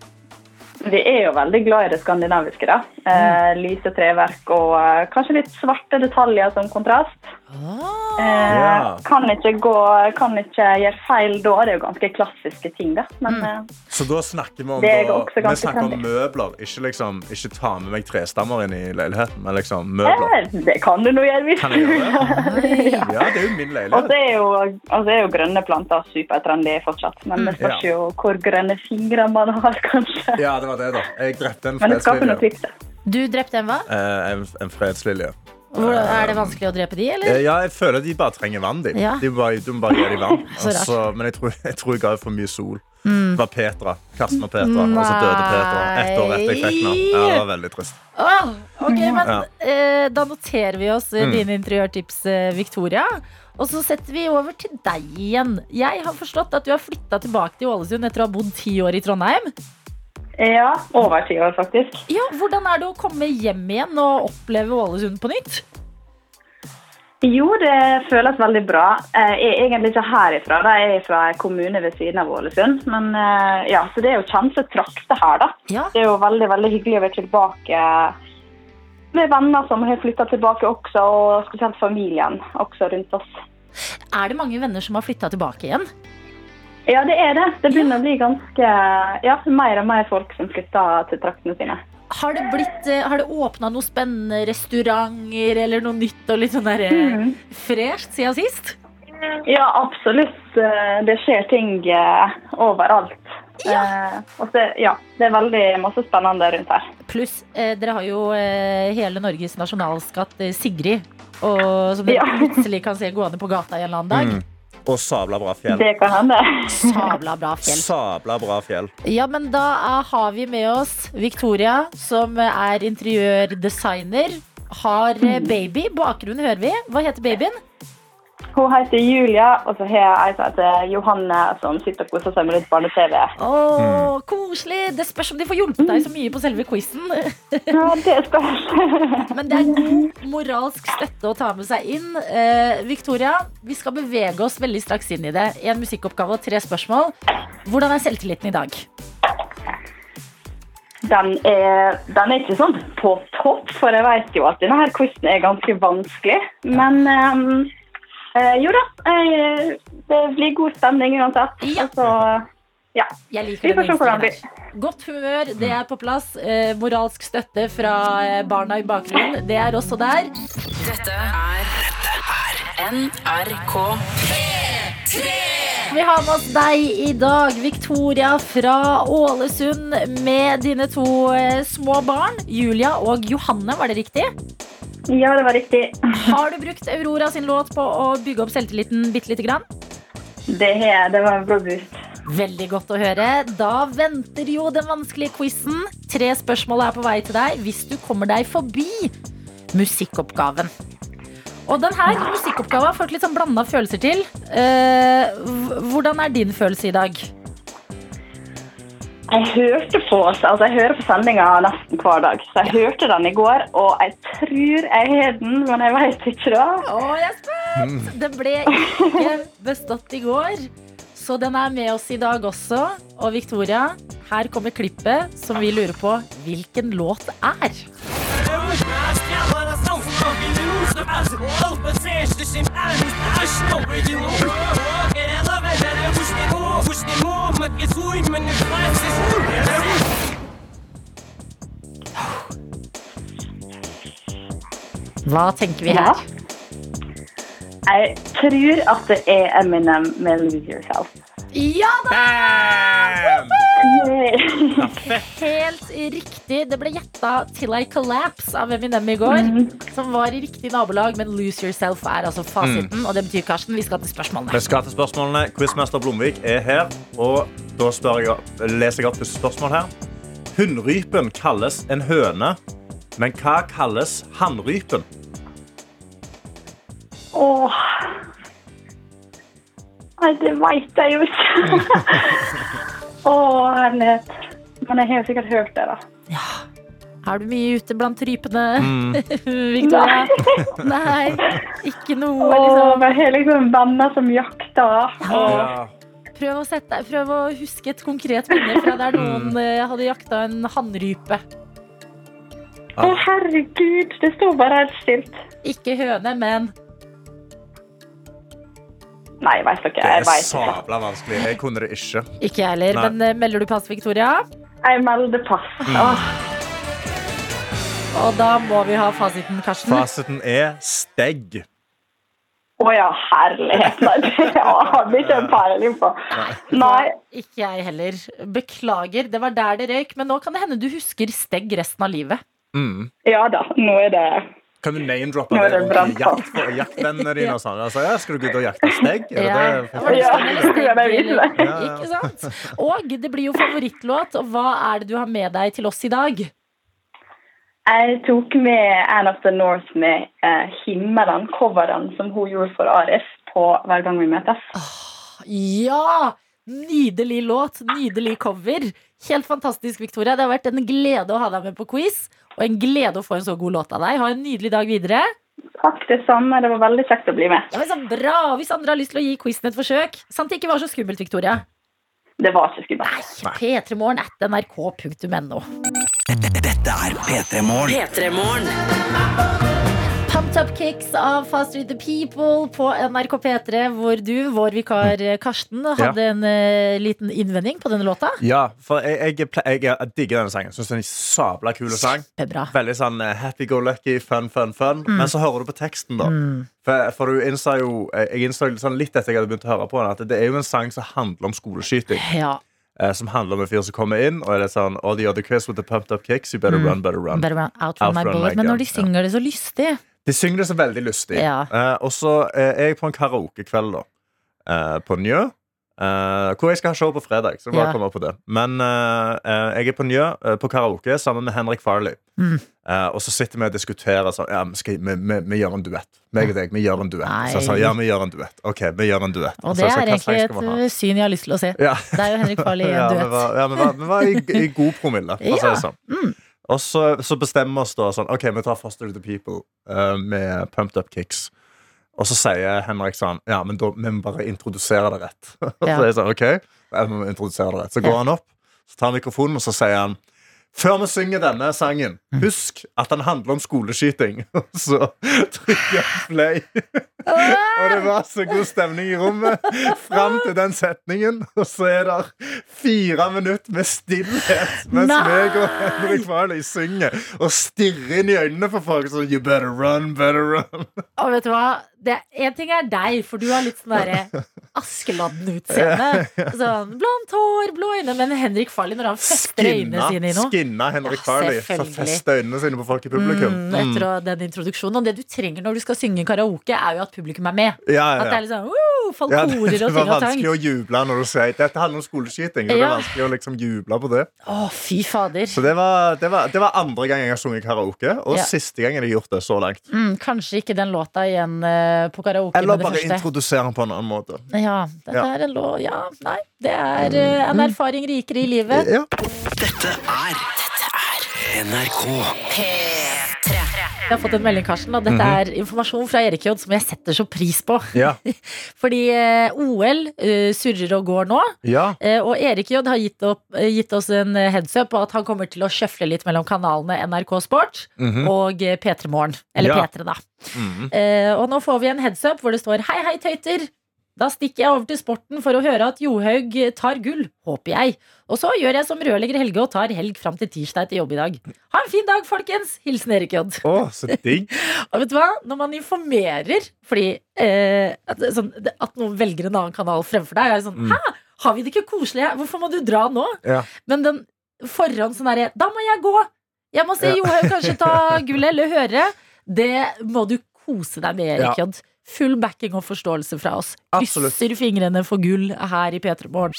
Vi er jo veldig glad i det skandinaviske, da. Eh, lyse treverk og eh, kanskje litt svarte detaljer som kontrast. Eh, Ja. kan, ikke gå, kan ikke gjøre feil da. Det er jo ganske klassiske ting, da. Men eh, Så da snakker vi om, Det er da, også ganske vi snakker om trendy. møbler. Ikke, liksom, ikke ta med meg trestammer inn i leiligheten, men liksom møbler. eh, det kan du nå gjøre hvis Kan jeg du gjøre det? Oi. Ja, det er jo min Og leilighet. så Altså, er, jo- og så er jo grønne planter supertrendy fortsatt, men det spørs Mm. Ja. jo hvor grønne fingre man har, kanskje. Ja, det var det, da. Jeg drepte en Men det skaper noe fredslilje. kvikt. da. Du drepte en hva? Eh, en, en fredslilje. Hvor, er det vanskelig å drepe de, eller? Eh, Ja, jeg føler de bare trenger vann. De. Ja. De bare, du må bare gi dem vann. Så rart. Altså, men jeg tror, jeg tror jeg ga for mye sol. Mm. Det var Petra. Karsten og Petra. Og så døde Petra. Ett år etter jeg fikk den. Ja, det var veldig trist. Åh, ok, men Mm. Ja. Mm. eh, da noterer vi oss eh, dine interiørtips, eh, Victoria. Og så setter vi over til deg igjen. Jeg har forstått at du har flytta tilbake til Ålesund etter å ha bodd ti år i Trondheim. Ja, over ti år, faktisk. Ja, Hvordan er det å komme hjem igjen og oppleve Ålesund på nytt? Jo, det føles veldig bra. Eh, Jeg er egentlig ikke herifra, da. jeg er fra en kommune ved siden av Ålesund. Men eh, ja, så det er jo kjente trakter her, da. Ja, Det er jo veldig, veldig hyggelig å være tilbake med venner som har flytta tilbake også, og spesielt familien også rundt oss. Er det mange venner som har flytta tilbake igjen? Ja, det er det. Det begynner å bli ganske Ja, mer og mer folk som flytter til traktene sine. Har det, blitt, eh, har det åpna noen spennende restauranter eller noe nytt og litt sånn der, eh, fresht siden sist? Ja, absolutt. Eh, Det skjer ting eh, overalt. Ja. Og så, ja, det er veldig masse spennende rundt her. Pluss, eh, dere har jo eh, hele Norges nasjonalskatt, eh, Sigrid. Og, som dere Ja. plutselig kan se gående på gata en eller annen dag. Og sabla bra fjell. Det kan hende. Sabla bra fjell. Sabla bra fjell. Ja, men da eh, har vi med oss Victoria, som eh, er interiørdesigner. Har eh, baby. Bakgrunnen hører vi. Hva heter babyen? Hun heter Julia, og så har jeg ei som heter Johanne, som sitter og koser seg med litt barne-TV. Å, koselig! Det spørs om de får hjulpet deg så mye på selve quizen. Ja, det spørs. Men det er god moralsk støtte å ta med seg inn. Eh, Victoria, vi skal bevege oss veldig straks inn i det. En musikkoppgave og tre spørsmål. Hvordan er selvtilliten i dag? Den er, den er ikke sånn på topp, for jeg vet jo at denne her quizen er ganske vanskelig. Men ehm, eh, jo da, eh, det blir god stemning uansett. Ja. Og så, ja. Jeg liker Vi får den se hvordan det innstillingen der. Godt humør, det er på plass. Eh, moralsk støtte fra eh, barna i bakgrunnen, det er også der. Dette er NRK. Vi har med oss deg i dag, Victoria fra Ålesund, med dine to eh, små barn, Julia og Johanne, var det riktig? ja, det var riktig. Har du brukt Aurora sin låt på å bygge opp selvtilliten bitte lite grann? Det, er, det var en bra boost. Veldig godt å høre. Da venter jo den vanskelige quizen. Tre spørsmål er på vei til deg hvis du kommer deg forbi musikkoppgaven. Og den her musikkoppgaven har folk litt sånn blanda følelser til. Eh, h- hvordan er din følelse i dag? Jeg hørte på oss, altså jeg hører på sendinga nesten hver dag, så jeg hørte den i går, og jeg tror jeg har den, men jeg vet ikke da. Å, jeg er spent! Den ble ikke bestått i går, så den er med oss i dag også. Og Victoria, her kommer klippet som vi lurer på hvilken låt er. Hva tenker vi her? Jeg tror at det er Eminem med Lose Yourself. Ja da! Yay. Helt riktig. Det ble gjetta til I collapse av Eminem i går. Som var i riktig nabolag, men Lose Yourself er altså fasiten. Og det betyr, Karsten, vi skal til Vi spørsmålene. skal til spørsmålene. Quizmester Blomvik er her. Og da spør jeg, leser jeg opp første spørsmål her. Hunnrypen kalles en høne, men hva kalles hannrypen? Åh. Nei, det vet jeg jo ikke. Åh, herlighet. Men jeg har jo sikkert hørt det da. Er du mye ute blant rypene, Victoria? Nei. Ikke noe, Åh, liksom. men jeg har liksom venner som jakter. Og Prøv å, sette, deg- prøv å huske et konkret minne fra der noen eh, hadde jakta en hannrype. Å, herregud, det står bare helt stilt. Ikke høne, men Nei, jeg vet ikke. Det Jeg er vet ikke. sabla vanskelig. Jeg kunne det ikke. Ikke jeg heller. Nei. Men eh, melder du pass, Victoria? Jeg melder pass. Mm. Åh. Og da må vi ha fasiten, Karsten. Fasiten er stegg. Å ja, herlighet. Nei, det hadde jeg ikke en peiling på. Nei. Ikke jeg heller. Beklager, det var der det røyk. Men nå kan det hende du husker stegg resten av livet. Mm. Ja da, nå er det Kan du name-droppe Nå er det det og brannfall. jakt, jaktvennene dine? og sånn? Altså, ja, skal du gå ut og jakte stegg? Er det Ja. det? Var det Ja, steg- det skulle jeg bare vite. eller- Ja, ja. Ikke sant? Og det blir jo favorittlåt. Og hva er det du har med deg til oss i dag? Jeg tok med Anne of the North med eh, himmelen, coveren som hun gjorde for Arif på Hver gang vi møtes. Ja! Nydelig låt, nydelig cover. Helt fantastisk, Victoria. Det har vært en glede å ha deg med på quiz. Og en glede å få en så god låt av deg. Ha en nydelig dag videre. Takk, det samme. Det var veldig kjekt å bli med. Ja, men så bra! Hvis andre har lyst til å gi quizen et forsøk. Sant det ikke var så skummelt, Victoria? Det var ikke skummelt. P3morgen at nrk.no. Dette er P3 Morgen. P3-morgen. Pumped Up Kicks av Fast With The People på NRK P3, hvor du, vår vikar Mm. eh, Karsten, hadde en eh, liten innvending på denne låta. Ja, for jeg, jeg, ple- jeg, jeg digger denne sangen. Syns det er en sabla kul sang. Kjempebra. Veldig sånn eh, happy-go-lucky, fun, fun, fun. Men så hører du på teksten, da. For, for du innså jo, eh, jeg innså litt sånn litt etter jeg hadde begynt å høre på den, at det er jo en sang som handler om skoleskyting. Ja. Eh, som handler om en fyr som kommer inn, og er litt sånn All the other kids with the pumped up kicks, you better run, better run. Better run out from my Outrun bullet. my Men gun, når de ja. synger det så lystig De synger det så veldig lystig. Ja. Eh, og så eh, er jeg på en karaokekveld da, eh, på Njø. Eh, hvor jeg skal ha show på fredag. Så det er bare Ja. å komme opp på det Men eh, eh, jeg er på Njø eh, på karaoke sammen med Henrik Farley. Mm. Eh, og så sitter vi og diskuterer sånn ja, men skal, vi, vi, vi gjør en duett. Meg og deg, vi gjør en duett. Så jeg sa Nei. ja, vi gjør en duett. Ok, vi gjør en duett. Og Og det Altså, så jeg sa, er hva sang egentlig skal vi ha? et ø, syn jeg har lyst til å se. Ja. Det er jo Henrik Farley i Ja, en vi duett. var, ja, vi var, vi var i, i god promille, for å si Ja, det sånn. Og så, så bestemmer vi oss da sånn OK, vi tar Foster to the People eh, med Pumped Up Kicks. Og så sier Henrik sånn Ja, men da vi må bare introdusere det rett. Og Ja. så er jeg sånn, ok, ja, vi må introdusere det rett. Så går Ja. han opp, så tar han mikrofonen, og så sier han før vi synger denne sangen, Mm. husk at den handler om skoleskyting. Og så trykker jeg play. Og det var så god stemning i rommet fram til den setningen. Og så er det fire minutter med stillhet mens Nei! meg og Henrik Farley synger og stirrer inn i øynene på folk sånn You better run, better run. Og vet du hva? Det er- En ting er deg, for du har litt sånn derre Askeladden-utseende. Sånn blondt hår, blå øyne. Men Henrik Farley, når han fester øynene Skinna, sine i noe skinna Henrik Ja, Farley. Så selvfølgelig. fester øynene sine på folk i publikum. mm, etter å- den introduksjonen. Og det du trenger når du skal synge karaoke, er jo at publikum er med. Ja, At det ja, er ja. litt sånn «Woo!» Folk Ja, korer og det ting var og tang. vanskelig å juble når du sier dette handler om skoleskyting. Så det Ja. var vanskelig å liksom juble på det. Å, fy fader. Så det var, det, var, det var andre gang jeg har sunget karaoke, og Ja. siste gangen jeg har gjort det så langt. Mm, kanskje ikke den låta igjen eh, på karaoke Eller med det første. bare introdusere den på en annen måte. Ja, dette Ja. Mm. er en lå... Ja, nei. Det er eh, en erfaring rikere i livet. Ja. Dette er NRK. Jeg har fått en melding, Karsten, og dette er informasjon fra Erik J som jeg setter så pris på. Mhm. Ja. Fordi eh, OL eh, surrer og går nå, Ja. eh, og Erik J har gitt, opp, eh, gitt oss en eh, heads up på at han kommer til å sjøfle litt mellom kanalene NRK Sport og eh, P3 Morgen. Eller Ja. P3, da. Mm. Eh, og nå får vi en heads up hvor det står Hei, hei, tøyter! Da stikker jeg over til sporten for å høre at Johaug tar gull, håper jeg. Og så gjør jeg som rørlegger Helge og tar helg fram til tirsdag til jobb i dag. Ha en fin dag, folkens! Hilsen Erik J. Å, så digg. Og vet du hva? Når man informerer fordi eh, at, det- sånn, det- at noen velger en annen kanal fremfor deg, er det sånn Mm. Hæ? Har vi det ikke koselig her? Hvorfor må du dra nå? Ja. Men den forhånd sånn derre Da må jeg gå! Jeg må se Ja. Johaug kanskje ta gullet eller høre. Det må du kose deg med, Erik Jodd. Full backing og forståelse fra oss. Absolutt. Krysser fingrene for gull her i P3 Morgen.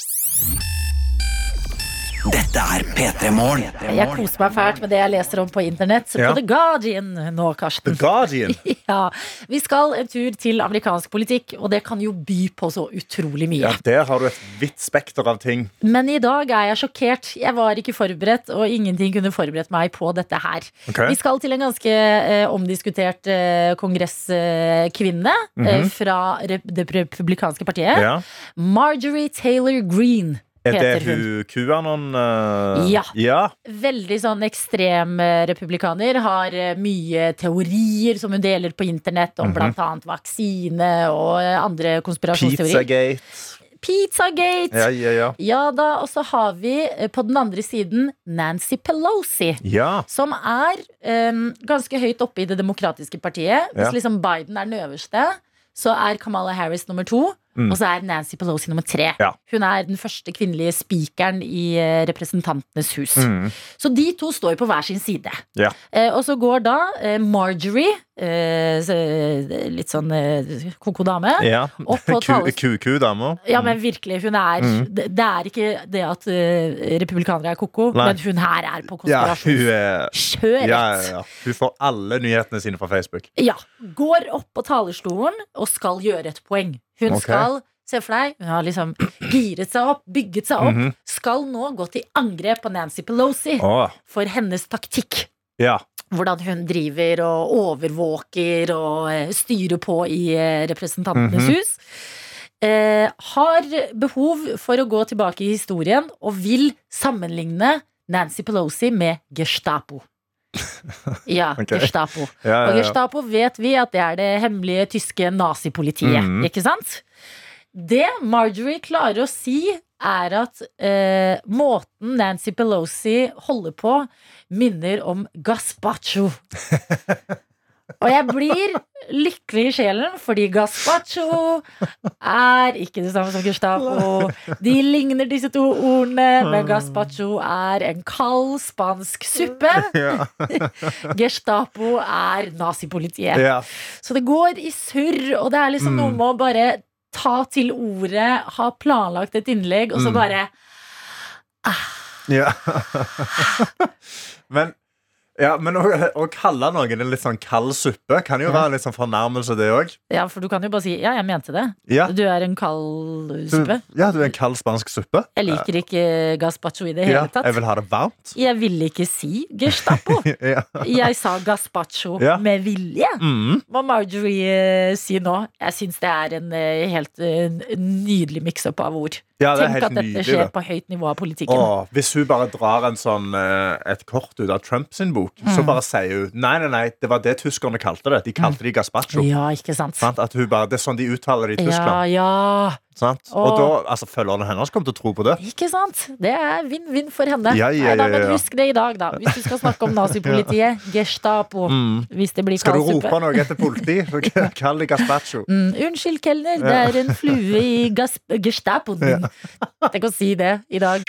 Dette er P3 Morgen. Jeg koser meg fælt med det jeg leser om på internett. Ja. På The Guardian nå, The Karsten. Guardian. Ja, Vi skal en tur til amerikansk politikk, og det kan jo by på så utrolig mye. Ja, der har du et vidt spekter av ting. Men i dag er jeg sjokkert. Jeg var ikke forberedt, og ingenting kunne forberedt meg på dette her. Vi skal til en ganske eh, omdiskutert eh, kongresskvinne eh, fra rep det republikanske partiet. Mhm. Ja. Marjorie Taylor Green Er det heter hun. hun QAnon eh, Ja. ja. Veldig sånn ekstrem eh, republikaner. Har eh, mye teorier som hun deler på internett Mhm. om blant annet vaksine og eh, andre konspirasjonsteorier. Pizzagate. Pizzagate! Ja, ja, ja. Ja da, og så har vi eh, på den andre siden Nancy Pelosi. Ja. Som er em, ganske høyt oppe i det demokratiske partiet. Hvis Ja. liksom Biden er den øverste, så er Kamala Harris nummer to. Mm. Og så er Nancy Pelosi nummer tre. Ja. Hun er den første kvinnelige spikeren i eh, Representantenes hus. Mm. Så de to står jo på hver sin side. Ja. Eh, og så går da eh, Marjorie, eh, så, eh, litt sånn eh, ko-ko dame, ja. opp på talerstolen. QQ-damer. Ja, men virkelig, hun er Mm. det, det er ikke det at eh, republikanere er ko-ko, Nei. men hun her er på Ja, hun konspirasjonskjøret. er ja, ja, ja. Hun får alle nyhetene sine fra Facebook. Ja. Går opp på talerstolen og skal gjøre et poeng. Hun Ok. skal Se for deg, hun har liksom giret seg opp, bygget seg opp. Mhm. Skal nå gå til angrep på Nancy Pelosi Å, for hennes taktikk. ja. Hvordan hun driver og overvåker og eh, styrer på i eh, Representantenes Mhm. hus. Eh, har behov for å gå tilbake i historien og vil sammenligne Nancy Pelosi med Gestapo. Ja, Ok. Gestapo. Ja, Og ja, ja. Gestapo vet vi at det er det hemmelige tyske nazipolitiet, Mhm. ikke sant? Det Marjorie klarer å si, er at eh, måten Nancy Pelosi holder på, minner om gazpacho. Og jeg blir lykkelig i sjelen, fordi gazpacho er ikke det samme som Gestapo. De ligner disse to ordene, men gazpacho er en kald spansk suppe. Ja. Gestapo er nazipolitiet. Ja. Så det går i surr, og det er liksom Mm. noe med å bare ta til ordet, ha planlagt et innlegg, og så Mm. bare Ja. men ja, men å, å kalle noen en litt sånn kald suppe kan jo Ja. være en litt sånn fornærmelse, det òg. Ja, for du kan jo bare si 'ja, jeg mente det'. Ja. Du er en kald Du, suppe. ja, du er en kald spansk suppe. Jeg liker ikke gazpacho i det Mm. Ja, hele tatt. jeg vil ha det varmt. Jeg ville ikke si Gestapo. Ja. Jeg sa gazpacho Ja. med vilje. Mm. Må Marjorie eh, si nå. Jeg syns det er en eh, helt eh, n- nydelig mix-up av ord. ja, det er Tenk helt at dette nydelig. skjer det. på høyt nivå av politikken. Åh, hvis hun bare drar en sånn, eh, et kort ut av Trumps bok, Mm. så bare sier hun nei, nei, nei, det var det tyskerne kalte det. De kalte de gazpacho. Ja, ikke sant? Sant? At hun bare, det er sånn de uttaler det i Ja, Tyskland. ja. Sant? Og Åh. da, altså, Følgerne hennes kommer til å tro på det. Ikke sant? Det er vinn-vinn for henne. Ja, ja, Nei da, ja, men ja. husk det i dag, da. Hvis du skal snakke om nazipolitiet. Gestapo. Mm. Hvis det blir Skal du kaldsuppe. rope noe etter politi, så kall det gazpacho. Mm, unnskyld, kelner, det er en flue i gas gestapoen. Tenk å si det i dag.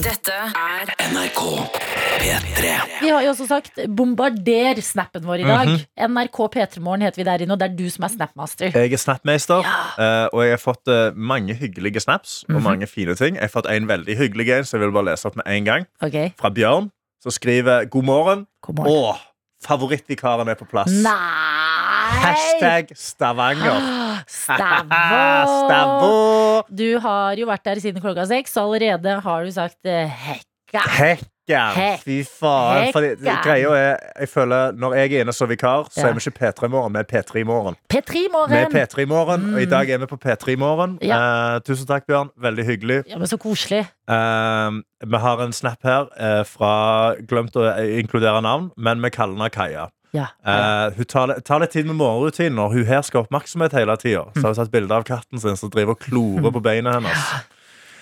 Dette er NRK P3. Vi har jo også sagt bombarder snappen vår i dag. Mhm. NRK P3morgen heter vi der inne, og det er du som er snapmaster. Jeg er Snapmeister, eh, og jeg har fått eh, mange hyggelige snaps Mhm. og mange fine ting. Jeg har fått en veldig hyggelig en, så jeg vil bare lese opp med en gang. Ok, Fra Bjørn, som skriver 'God morgen'. god morgen. Å, favorittvikaren er på plass. Nei! Hashtag Stavanger. Ah, Stavå! Stavå! Du har jo vært der siden klokka seks, og allerede har du sagt eh, hekka. Hekken! Hek- Fy faen. Fordi hekken. greia er, jeg føler Når jeg er inne som vikar, så Ja. er vi ikke P3 i morgen, vi er P3 i morgen. Vi er P3-morgen! P3 i morgen, og i dag er vi på P3 i morgen. Eh, tusen takk, Bjørn. Veldig hyggelig. Ja, men så koselig. Ehm, vi har en snap her eh, fra Glemt å eh, inkludere navn, men vi kaller henne Kaja. Ja. Eh, hun tar, li- tar litt tid med morgenrutiner. Hun her skal ha oppmerksomhet hele tida. Så har hun tatt bilde av katten sin som driver og klorer på beina hennes.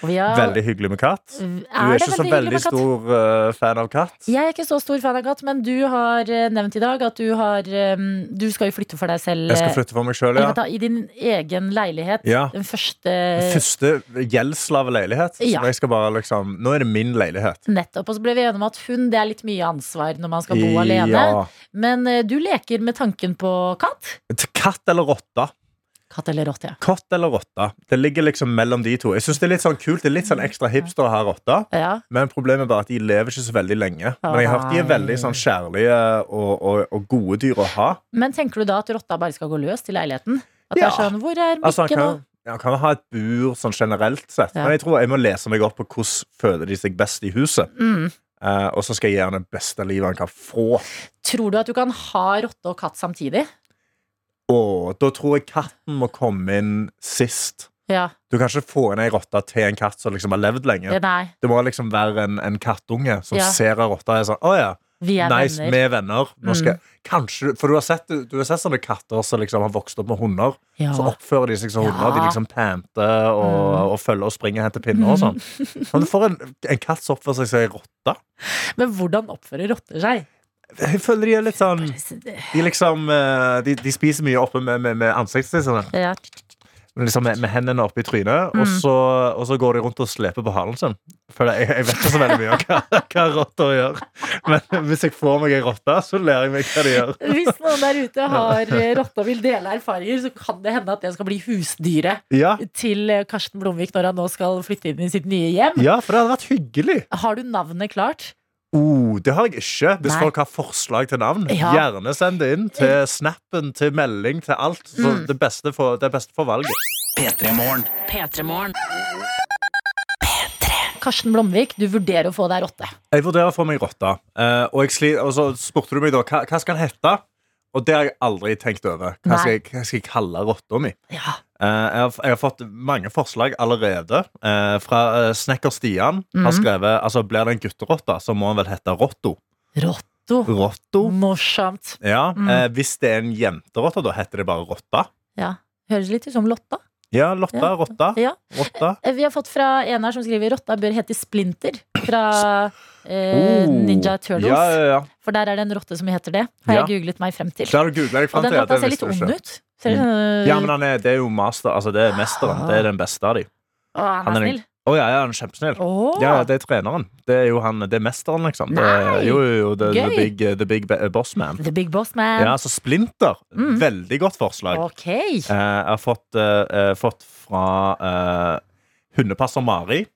Og vi har- Veldig hyggelig med katt. Er det Du er ikke hyggelig så med veldig katt? stor eh, fan av katt. Jeg er ikke så stor fan av katt, men du har eh, nevnt i dag at du har eh, Du skal jo flytte for deg selv. Jeg skal eh, flytte for meg sjøl, eller ja. vent da, I din egen leilighet. Ja. Den første Første gjeldsslaveleilighet. Ja. Så jeg skal bare liksom Nå er det min leilighet. Nettopp. Og så ble vi enige om at hund det er litt mye ansvar når man skal bo alene. Ja. Men eh, du leker med tanken på katt. Katt eller rotte? Katt eller rotte, ja. Katt eller rotte? Det ligger liksom mellom de to. Jeg synes Det er litt sånn kult Det er litt sånn ekstra hipster å ha rotte, ja. men problemet er bare at de lever ikke så veldig lenge. Men jeg har hørt de er veldig sånn kjærlige og, og, og gode dyr å ha. Men tenker du da at rotta bare skal gå løs til leiligheten? At det Ja. er sånn, Hvor er Mikke Altså Han nå? kan, ja, han kan ha et bur sånn generelt sett, Ja. men jeg tror jeg må lese meg opp på hvordan føler de seg best i huset. Mm. Eh, og så skal jeg gi han det beste livet han kan få. Tror du at du kan ha rotte og katt samtidig? Og da tror jeg katten må komme inn sist. Ja. Du kan ikke få inn ei rotte til en katt som liksom har levd lenge. Nei. Det må liksom være en, en kattunge som Ja. ser ei rotte og er sånn Å ja. Vi er nice, venner. Mm. vi er venner. Nå skal, Kanskje, for du har, sett, du har sett sånne katter som liksom har vokst opp med hunder. Ja. Så oppfører de seg som Ja. Mm. hunder. De liksom panter og, og følger og springer og henter pinner og sånn. Men du får en, en katt som oppfører seg som ei rotte. Men hvordan oppfører rotter seg? Jeg føler de er litt sånn De liksom eh, De, de spiser mye oppe med, med, med ansiktet sitt. Sånn. Ja. Liksom med, med hendene oppi trynet, Mm. og, så, og så går de rundt og sleper på halen sin. Føler jeg, jeg vet ikke så veldig mye om hva, hva rotter gjør, men hvis jeg får meg ei rotte, så lærer jeg meg hva de gjør. Hvis noen der ute har eh, rotte og vil dele erfaringer, så kan det hende at det skal bli husdyret Ja, til eh, Karsten Blomvik når han nå skal flytte inn i sitt nye hjem. ja for det hadde vært hyggelig. Har du navnet klart? Oh, det har jeg ikke. Hvis Nei. folk har forslag til navn, Ja. gjerne send det inn til snappen, til melding, til alt. Så Mm. det, beste for, det er beste for valget. P3 Morgen. P3morgen. Karsten Blomvik, du vurderer å få deg rotte. Jeg vurderer for meg rotta. Eh, og, jeg sli, og så spurte du meg da hva, hva skal den hete. Og det har jeg aldri tenkt over. Hva Nei. skal jeg, hva skal jeg kalle rotta mi? Ja. Eh, jeg, har, jeg har fått mange forslag allerede. Eh, fra eh, snekker Stian har Mhm. skrevet altså blir det en gutterotte, så må han vel hete Rotto. Rotto. Rotto. Oh, Morsomt. Ja, Mm. eh, Hvis det er en jenterotte, da heter det bare rotta. Ja. Høres litt ut som Lotta. Ja, Lotta, Ja. rotta, Ja. rotta. Eh, Vi har fått fra en her som skriver Rotta bør hete Splinter fra eh, Oh. Ninja Turtles. Ja, ja, ja. For der er det en rotte som heter det. Har Ja. jeg googlet meg frem til. Det har du googlet deg Og fram den til. Mm. rotta det ser litt visste ond du ikke. ut. Ser, eh, Ah. Ja, men han er, det er jo master, altså det er mesteren. Det er den beste av dem. å, han han er er en- snill. Å ja, ja, han er kjempesnill. Åh. Ja, ja, det er treneren. Det er jo han, det er mesteren, liksom. Det, Nei! jo, jo, jo, the, the, Gøy! big, eh, the big ba- boss man. The Big Boss Man. Ja, så Splinter. Mm. Veldig godt forslag. Ok. Eh, jeg har fått, eh, eh, fått fra eh, hundepasser Mari.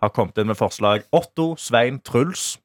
Har kommet inn med forslag Otto, Svein, Truls.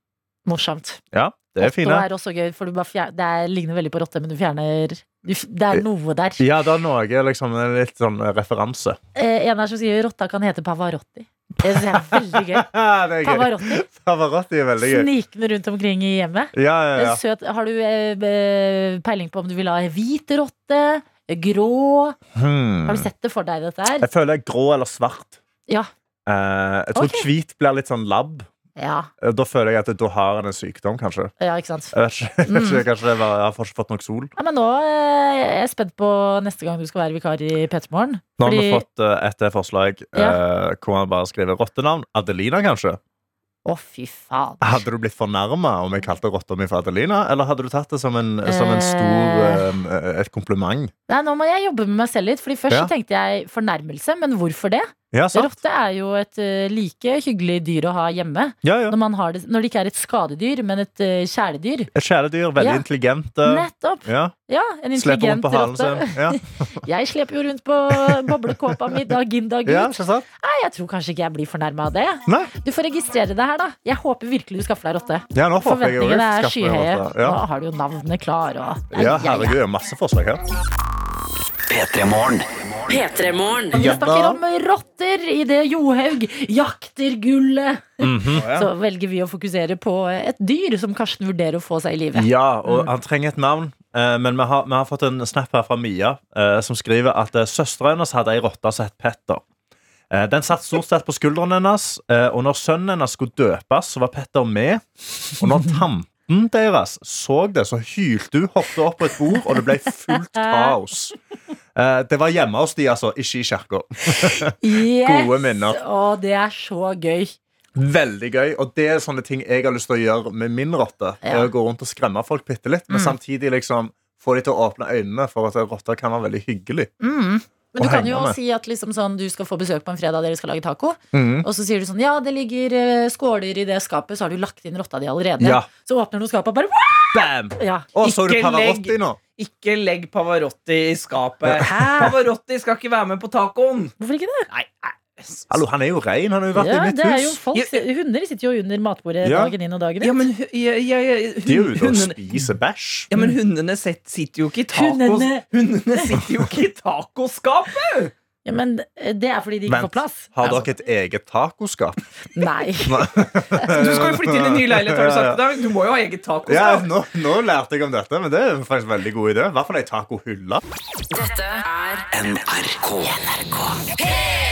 Morsomt. Ja, det er Otto fine. er også gøy, for du bare fjer- det er, ligner veldig på rotte, men du fjerner du, f- Det er noe der. Ja, det er noe liksom, en litt sånn referanse. Eh, en her som sier rotta kan hete Pavarotti. Det synes jeg er veldig gøy. det er gøy. Pavarotti. Pavarotti er veldig gøy. Snikende rundt omkring i hjemmet. Ja, ja, ja. En Søt, har du eh, be- peiling på om du vil ha hvit rotte? Grå? Hmm. Har du sett det for deg, dette her? Jeg føler jeg er grå eller svart. Ja. Eh, jeg tror Ok. hvit blir litt sånn labb. Ja, Eh, Da føler jeg at da har han en sykdom, kanskje. ja ikke sant. Jeg vet ikke, Mm. kanskje, kanskje det var, jeg har ikke fått nok sol. Ja, men nå eh, jeg er jeg spent på neste gang du skal være vikar i P3morgen. Nå har vi Fordi- fått eh, et forslag eh, hvor han bare skriver rottenavn. Adelina, kanskje? Å, fy faen. Hadde du blitt fornærma om jeg kalte rotta mi for Adelina, eller hadde du tatt det som en, som en stor eh, et kompliment? Nei, nå må jeg jobbe med meg selv litt, Fordi først Ja. så tenkte jeg fornærmelse, men hvorfor det? Ja, sant? Rotte er jo et eh, like hyggelig dyr å ha hjemme. Ja, ja. Når, man har det, når det ikke er et skadedyr, men et eh, kjæledyr. Et kjæledyr, veldig Ja. intelligente. Nettopp! Ja. Ja, en Sleper intelligent rundt på rotte. halen sin. Ja. Jeg sleper jo rundt på boblekåpa mi dag inn, dag ut. ja, ikke sant? Nei, jeg tror kanskje ikke jeg blir fornærma av det. Nei. Du får registrere det her, da. Jeg håper virkelig du skaffer deg rotte. Ja, nå håper jeg jo Forventningene er skaffer meg skyhøye. rotte. Nå har du jo navnene klare og Ja. ja, herregud, det er masse forslag her. P3 Morgen. P3-morgen. Vi snakker om rotter idet Johaug jakter gullet. Mhm. Så velger vi å fokusere på et dyr som Karsten vurderer å få seg i livet. Ja, og han trenger et navn. Eh, Men vi har, vi har fått en snap her fra Mia eh, som skriver at eh, søsteren hennes hadde ei rotte som het Petter. Eh, Den satt stort sett på skulderen hennes, eh, og når sønnen hennes skulle døpes, så var Petter med. Og når tanten deres så det, så hylte hun, hoppet opp på et bord, og det ble fullt kaos. Eh, Det var hjemme hos de, altså, ikke i kirka. Yes! Gode minner. Å, det er så gøy. Veldig gøy, og det er sånne ting jeg har lyst til å gjøre med min rotte. Ja. Er å Gå rundt og skremme folk bitte litt, Mm. men samtidig liksom få de til å åpne øynene for at rotter kan være veldig hyggelig. Mm. Men Å du kan henge jo med. si at liksom sånn, du skal få besøk på en fredag, dere skal lage taco. Mhm. Og så sier du sånn Ja, det ligger eh, skåler i det skapet, så har du lagt inn rotta di allerede. Ja. Så åpner du skapet og bare «Wow!» Bam! ja. Å, så du Ikke Pavarotti legg- nå? Ikke legg Pavarotti i skapet. Pavarotti skal ikke være med på tacoen! Hvorfor ikke det? Nei, nei. Hallo, han er jo rein. Han har jo vært Ja, i mitt det er jo hus. folk, Hunder sitter jo under matbordet Ja. dagen inn og dagen ut. Ja, men, hu- ja, ja, ja, hun, De er jo ute og hundene, spiser bæsj. ja, men hundene set- sitter jo ikke i tacos Hundene. Hundene sitter jo ikke i tacoskapet! Ja, men eh, det er fordi de ikke Vent. får plass. Altså, Har dere et eget tacoskap? Nei. Du skal jo flytte inn i en ny leilighet, har du sagt det? Du må jo ha eget Ja, tacoskap. nå, nå lærte jeg om dette, men det er faktisk en veldig god idé. I hvert fall ei tacohylle. Dette er NRK. NRK.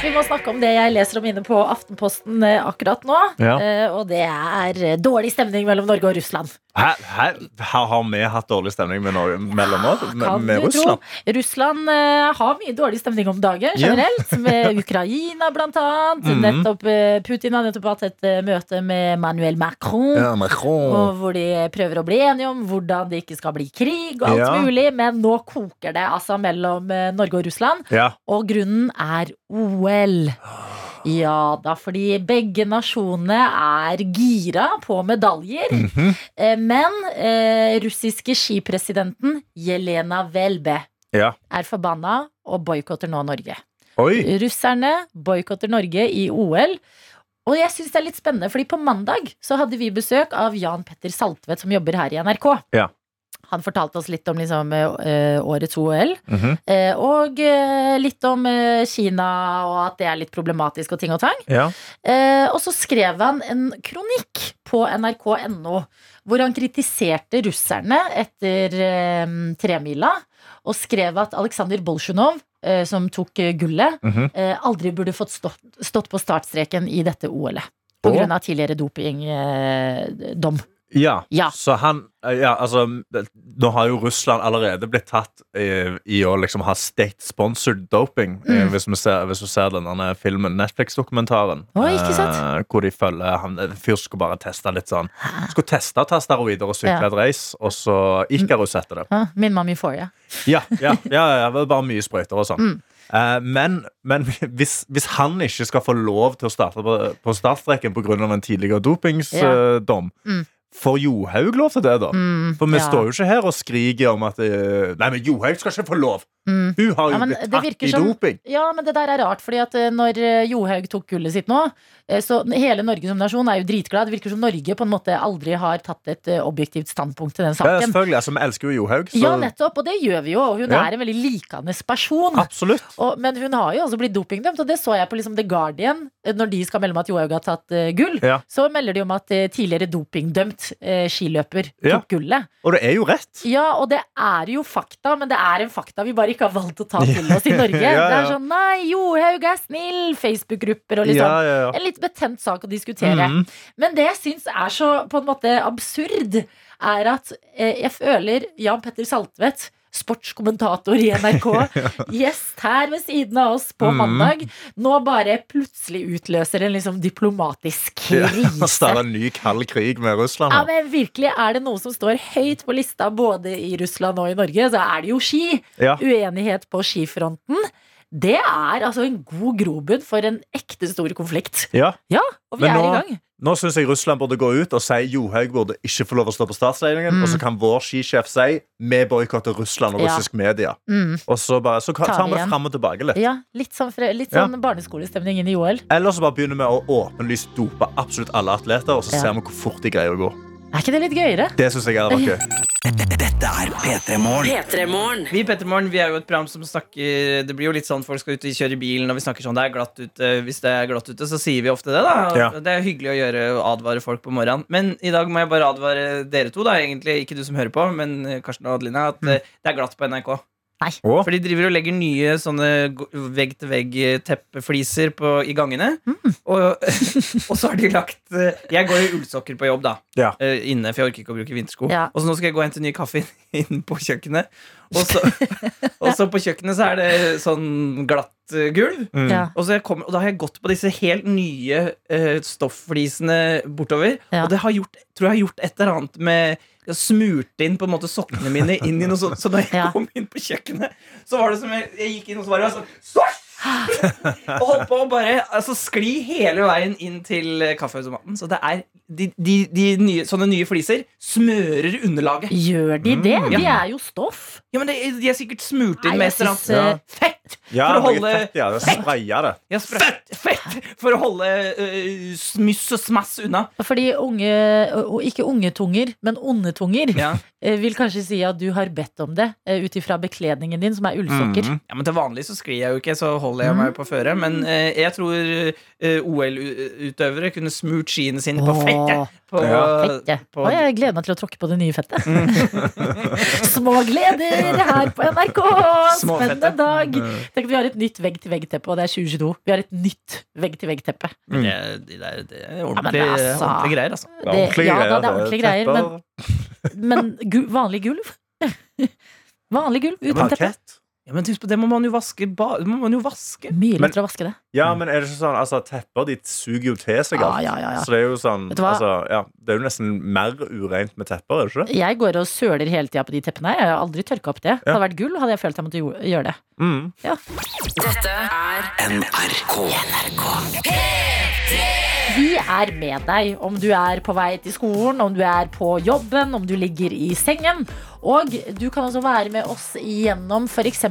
Vi må snakke om det jeg leser om inne på Aftenposten eh, akkurat nå. Ja. Eh, Og det er eh, dårlig stemning mellom Norge og Russland. Her, her, her har vi hatt dårlig stemning med Norge, mellom oss, med, Kan med du Russland. tro? Russland eh, har mye dårlig stemning om dagen generelt, med Ukraina blant annet. Mhm. Nettopp, eh, Putin har nettopp hatt et eh, møte med Manuel Macron. Ja, Macron. Og hvor de prøver å bli enige om hvordan det ikke skal bli krig og alt Ja. mulig. Men nå koker det altså mellom eh, Norge og Russland. Ja. Og grunnen er OL. Ja da, fordi begge nasjonene er gira på medaljer. Mm. Mhm. Eh, Men eh, russiske skipresidenten Jelena Velbe Ja. er forbanna og boikotter nå Norge. Oi. Russerne boikotter Norge i OL. Og jeg syns det er litt spennende, fordi på mandag så hadde vi besøk av Jan Petter Saltvedt, som jobber her i NRK. Ja. Han fortalte oss litt om liksom, eh, årets OL. Mhm. Eh, Og eh, litt om eh, Kina og at det er litt problematisk og ting og tang. Ja. Eh, Og så skrev han en kronikk på nrk.no hvor han kritiserte russerne etter eh, tremila og skrev at Aleksandr Bolsjunov, eh, som tok eh, gullet, Mhm. eh, aldri burde fått stått, stått på startstreken i dette OL-et. På Å. grunn av tidligere eh, dopingdom. Ja, Ja. så han ja, altså, Nå har jo Russland allerede blitt tatt i, i å liksom ha state-sponsored doping, Mm. eh, hvis, vi ser, hvis vi ser denne filmen, Netflix-dokumentaren, Oi, ikke sant? eh, hvor de følger han En fyr skulle bare teste litt sånn Skulle teste å ta steroider og sykle Ja. Mm. et race, og så Ikarus heter det. Ah, Min mamma Euphoria. Mm. Ja, ja, ja, ja, det var bare mye sprøyter og sånn. Eh, men men hvis, hvis han ikke skal få lov til å starte på, på startstreken pga. en Ja. tidligere dopingsdom, Mm. får Johaug lov til det, da? Mm, For vi ja. står jo ikke her og skriker om at eh, Nei, men Johaug skal ikke få lov! Mm. Hun har jo Ja, men blitt det tatt virker i som- doping. Ja, men det der er rart, fordi at eh, når eh, Johaug tok gullet sitt nå, eh, så hele Norge som nasjon er jo dritglad. Det virker som Norge på en måte aldri har tatt et eh, objektivt standpunkt til den Ja, saken. selvfølgelig. Altså, vi elsker jo Johaug, så Ja, nettopp, og det gjør vi jo. og Hun Ja. er en veldig likende person. absolutt. Og, men hun har jo også blitt dopingdømt, og det så jeg på liksom The Guardian. eh, Når de skal melde om at Johaug har tatt eh, gull, Ja. så melder de om at eh, tidligere dopingdømt eh, skiløper tok Ja. gullet. Og det er jo rett. Ja, og det er jo fakta, men det er en fakta vi bare ikke har valgt å ta til oss i Norge. Ja, ja. Det er sånn nei, Johaug er snill, Facebook-grupper og litt Ja, sånn. ja, ja. En litt betent sak å diskutere. Mhm. Men det jeg syns er så på en måte absurd, er at eh, jeg føler Jan Petter Saltvedt, sportskommentator i NRK, gjest her ved siden av oss på Mm. mandag, nå bare plutselig utløser en liksom diplomatisk Ja, krise. Starte en ny kald krig med Russland. Ja, her. men virkelig Er det noe som står høyt på lista både i Russland og i Norge, så er det jo ski. Ja. Uenighet på skifronten. Det er altså en god grobunn for en ekte stor konflikt. Ja. Ja, og vi Men er nå- i gang. Nå syns jeg Russland burde gå ut og si Johaug burde ikke få lov å stå på startstillingen. Mm. Og så kan vår skisjef si vi boikotter Russland og Ja. russisk media. Mm. Og så, bare, så Tar tar vi vi det igjen. fram og tilbake litt. Ja, litt sånn, fre- litt Ja. sånn barneskolestemning inn i OL. Eller så bare begynner vi å åpenlyst dope absolutt alle atleter, og så Ja. ser vi hvor fort de greier å gå. Er ikke det litt gøyere? Det syns jeg hadde vært gøy. Dette er P3 Morgen. P3-morgen. Vi i Pettermorgen, vi er jo et program som snakker Det blir jo litt sånn folk skal ut og kjøre i bilen, og vi snakker sånn det er glatt ute. Hvis det er glatt ute, så sier vi ofte det, da. Og Ja. Det er hyggelig å gjøre og advare folk på morgenen. Men i dag må jeg bare advare dere to, da, egentlig. Ikke du som hører på, men eh, Karsten og Adelina, at Mm. eh, det er glatt på NRK. Og For de driver og legger nye sånne go- vegg-til-vegg-teppefliser eh, på- i gangene. Og, og så har de lagt eh, Jeg går i ullsokker på jobb, da. Ja. eh, Inne, for jeg orker ikke å bruke vintersko. Ja. Og så nå skal jeg gå og hente ny kaffe inn, inn på kjøkkenet. Og så, og så på kjøkkenet så er det sånn glatt eh, gulv. Mm. Ja. Og, så jeg kommer, og da har jeg gått på disse helt nye eh, stoffflisene bortover. Ja. Og det har gjort, tror jeg har gjort et eller annet med jeg har smurt inn på en måte sokkene mine inn i noe sånt. Så da jeg Ja. kom inn på kjøkkenet, så var det som jeg, jeg gikk inn og så var det sånn Stopp! og holdt på å bare altså, skli hele veien inn til eh, kaffeautomaten. Så det er de, de, de nye, sånne nye fliser smører underlaget. Gjør de det? ja. De er jo stoff. Ja, men det, De er sikkert smurt inn Nei, med jeg et eller annet synes, eh, fett! ja, For å noe holde- fett, ja. Spraye det. Ja, spra- Fett! For å holde eh, smuss og smass unna. Fordi unge, og ikke unge tunger, men onde tunger, Ja. eh, vil kanskje si at du har bedt om det eh, ut ifra bekledningen din, som er ullsokker. ja, men Til vanlig så sklir jeg jo ikke, så holder jeg Mm. meg på føret. Men eh, jeg tror eh, OL-utøvere kunne smurt skiene sine på Åh. fettet. På, Ja. Fettet. på- Og Mm. jeg gleder meg til å tråkke på det nye fettet. Små gleder her på NRK! Små Spennende fettet. Mm. dag! Tenk at vi har et nytt vegg-til-vegg-teppe, og det er 2022. Vi har et nytt vegg-til-vegg-teppe. Men det, de der, det er men ordentlige, altså. ordentlige greier, altså. Det er ordentlige ja, da, greier. det er ordentlige greier, men tepper, Men gu vanlig gulv? vanlig gulv uten teppe? parkett. Ja, men husk på, det må man jo vaske. Ba, det må man jo vaske. Mye Men- lettere å vaske det. Ja, men er det ikke sånn, altså, Tepper de suger jo til seg Ja, alt. ja, ja, ja. Så det er jo sånn Vet du hva? altså, ja, Det er jo nesten mer ureint med tepper, er det ikke det? Jeg går og søler hele tida på de teppene. Jeg har aldri tørka opp det. Det hadde vært gull, hadde jeg følt jeg måtte jo- gjøre det. Mm. Dette er NRK. NRK. Vi er med deg om du er på vei til skolen, om du er på jobben, om du ligger i sengen. Og du kan også være med oss gjennom f.eks.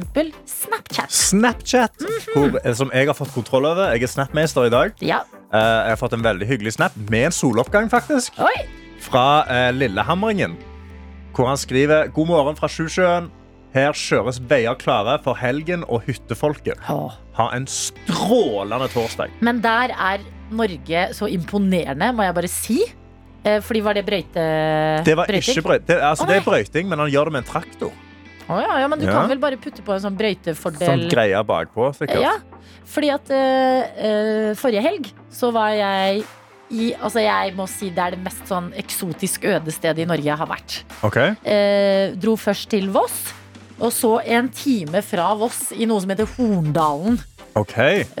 Snapchat. Snapchat, hvor, eh, som jeg har fått kontroll over. Jeg er Snapmeister i dag. Mhm. Ja. Eh, jeg har fått en veldig hyggelig snap med en soloppgang faktisk, Oi! fra eh, Lillehamringen. Hvor han skriver God morgen fra Sjusjøen. Her kjøres veier klare for helgen og hyttefolket. Åh. Ha en strålende torsdag. Men der er Norge så imponerende, må jeg bare si. Eh, Fordi var det brøyte... Det var brøyting? ikke brøyt. Det, altså, Å, det er nei. brøyting, men han gjør det med en traktor. Å ja, ja, men du Ja. kan vel bare putte på en sånn brøytefordel Sånn greier bakpå. sikkert. Ja, fordi at eh, eh, forrige helg så var jeg i Altså jeg må si det er det mest sånn eksotisk øde stedet i Norge jeg har vært. Ok. Eh, dro først til Voss, og så en time fra Voss i noe som heter Horndalen. Ok.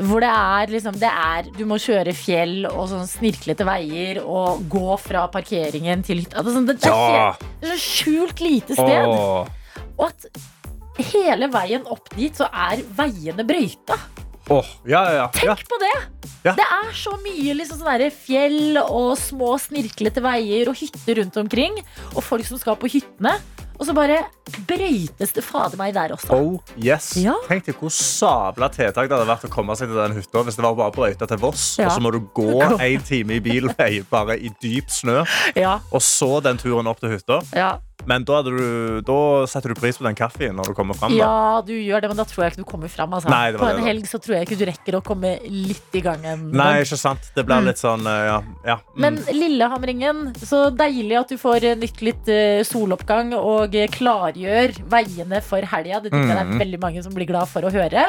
Hvor det er liksom det er, Du må kjøre fjell og sånn snirklete veier og gå fra parkeringen til hytta. Altså, sånn, det, det, er Ja. helt- det er sånn skjult lite sted. Åh. Og at hele veien opp dit så er veiene brøyta. Åh, ja, ja, ja, Tenk på det! Ja. Det er så mye liksom sånne der fjell og små snirklete veier og hytter rundt omkring. Og folk som skal på hyttene. Og så bare brøytes det fader meg der også. Oh, yes. Ja. Tenk deg hvor sabla tiltak det hadde vært å komme seg til den hytta hvis det var bare brøyta til Voss, Ja. og så må du gå en time i bilvei bare i dyp snø, Ja, og så den turen opp til hytta. ja. Men da, hadde du, da setter du pris på den kaffen når du kommer fram. da. ja, du gjør det, men da tror jeg ikke du kommer fram. Altså. Nei, det var på det en da. helg så tror jeg ikke du rekker å komme litt i gang. en Nei, gang. ikke sant. Det blir litt sånn eh, Ja. ja. Mm. Mm. Men Lillehamringen, så deilig at du får eh, nytt litt eh, soloppgang og eh, klargjør veiene for helga. Mm. Det tror jeg det er veldig mange som blir glad for å høre.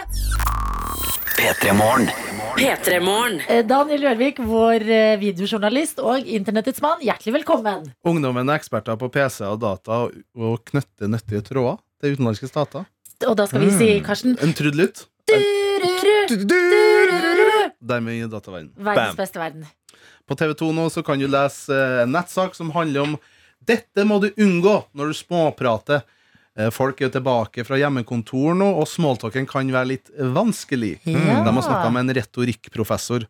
P3 Morgen. P3-morgen. Eh, Daniel Rørvik, vår eh, videojournalist og internettets mann, hjertelig velkommen. Ungdommen er eksperter på PC og data og- og knytter nyttige tråder til utenlandske stater. Og da skal vi si, Karsten En trudelutt. dururu, dururu, Dermed inn i dataverdenen. Verdens Bam. beste verden. På TV 2 nå så kan du lese eh, en nettsak som handler om dette må du unngå når du småprater. Eh, Folk er jo tilbake fra hjemmekontor nå, og smalltalken kan være litt vanskelig. Ja. De har snakka med en retorikkprofessor.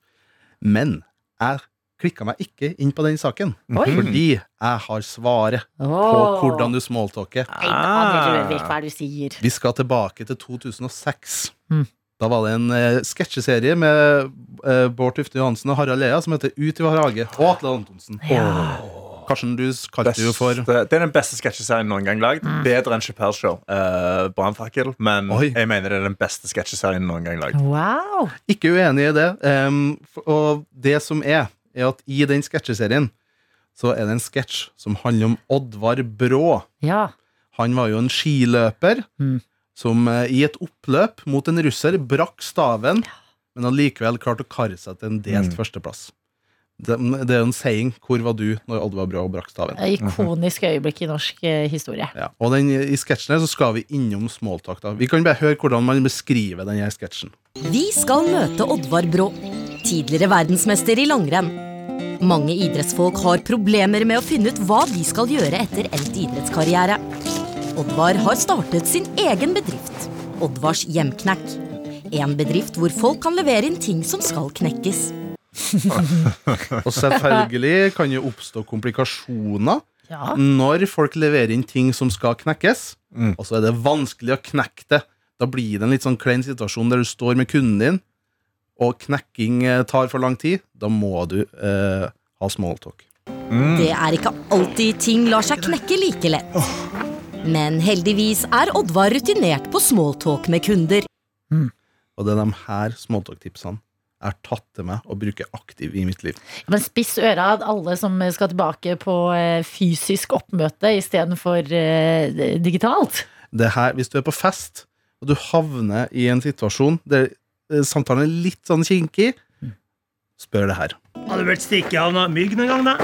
Men jeg klikka meg ikke inn på den saken, Oi. fordi jeg har svaret på Åh. hvordan du småtalker. Nei, Daniel Rørvik, hva er det du sier? Vi skal tilbake til 2006. Mm. Da var det en eh, sketsjeserie med eh, Bård Tufte Johansen og Harald Lea som heter Ut i vår hage. Og Atle Antonsen. Åh. Karsten, du kalte Beste- jo for det er den beste sketsjeserien noen gang lagd. Mm. Bedre enn Chappelle Show. Uh, Brannfakkel. Men Oi. jeg mener det er den beste sketsjeserien noen gang lagd. Wow. Ikke uenig i det. em, f- og det som er, er at i den sketsjeserien så er det en sketsj som handler om Oddvar Brå. Ja. Han var jo en skiløper Mm. som eh, i et oppløp mot en russer brakk staven, men allikevel klarte å karre seg til en delt Mm. førsteplass. Det, det er jo en saying 'Hvor var du når Oddvar Brå brakk staven?' Ikonisk øyeblikk i norsk eh, historie. Ja. Og den, i sketsjen her så skal vi innom smalltalk. da. Vi kan bare høre hvordan man beskriver denne sketsjen. Vi skal møte Oddvar Brå, tidligere verdensmester i langrenn. Mange idrettsfolk har problemer med å finne ut hva de skal gjøre etter endt idrettskarriere. Oddvar har startet sin egen bedrift, Oddvars Hjemknekk. En bedrift hvor folk kan levere inn ting som skal knekkes. Og selvfølgelig kan jo oppstå komplikasjoner Ja. når folk leverer inn ting som skal knekkes, Mm. og så er det vanskelig å knekke det. Da blir det en litt sånn klein situasjon der du står med kunden din, og knekking eh, tar for lang tid. Da må du eh, ha smalltalk. Det er ikke alltid ting lar seg knekke like lett. Men heldigvis er Oddvar rutinert på smalltalk med kunder. Og det er de her smalltalk-tipsene jeg har tatt til meg og bruker aktiv i mitt liv. Men spiss øra, alle som skal tilbake på eh, fysisk oppmøte istedenfor eh, digitalt. det her, hvis du er på fest, og du havner i en situasjon der eh, samtalen er litt sånn kinkig, spør det her. Har du blitt stikket av noe mygg noen gang, da?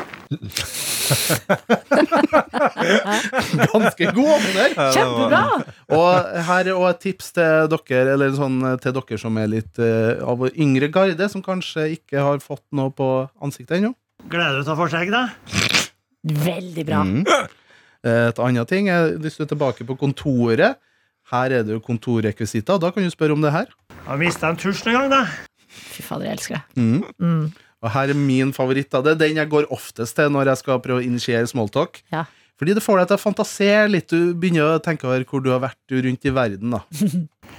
Ganske god åpner! Kjempebra! Og her er også et tips til dere, eller sånn, eh, til dere som er litt eh, av vår yngre garde, som kanskje ikke har fått noe på ansiktet ennå. Gleder du deg til å få skjegg, da? Veldig bra. Mm. Eh, Et annet ting er hvis du er tilbake på kontoret. Her er det jo kontorrekvisitter, og da kan du spørre om det her. Har du mista en tusj noen gang, da? Fy fader, jeg elsker det. Mm. Mm. Og her er min favoritt av det. er Den jeg går oftest til når jeg skal prøve å initiere smalltalk. Ja. Fordi det får deg til å fantasere litt. Du begynner å tenke over hvor du har vært rundt i verden. da.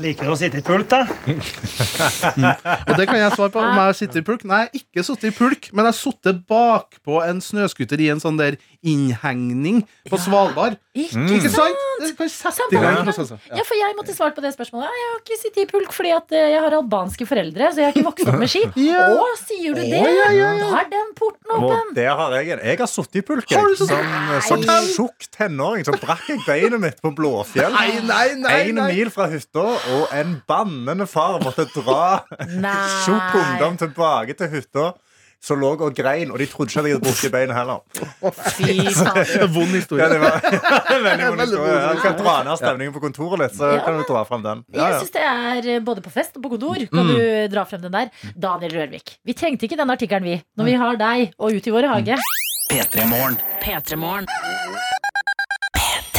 Liker du å sitte i pult, da? Mm. Og det kan jeg svare på. Om jeg har sittet i pulk? Nei, jeg har ikke sittet i pulk, men jeg har sittet bakpå en snøskuter i en sånn der innhengning på Svalbard. Ikke Ikke sant? Det kan sette i gang prosesser. Ja, for jeg måtte svare på det spørsmålet. Nei, Jeg har ikke sittet i pulk fordi at eh, jeg har albanske foreldre, så jeg har ikke vokst opp med ski. Ja. Å, sier du det? Da er den porten åpen. Og der har jeg en. Jeg har sittet i pulken Har du sittet- som, eh, som tjukk tenåring. Så brakk jeg beinet mitt på Blåfjell. Nei, nei, nei, en nei. mil fra hytta, og en bannende far måtte dra tjukk Nei, ungdom tilbake til hytta. Som lå og grein, og de trodde ikke at jeg hadde brukket beinet heller. fy fader. Det er en Vond Ja, historie. det var veldig vond Veldig historie. god. Jeg kan dra ned stemningen på kontoret litt, så Ja, kan du dra frem den. Ja, Mm. Jeg ja. syns det er eh, både på fest og på kontor. Kan du dra frem den der? Daniel Rørvik, vi trengte ikke den artikkelen, vi. Når Mm. vi har deg og Ut i våre hage. P3 Morgen. P3-morgen.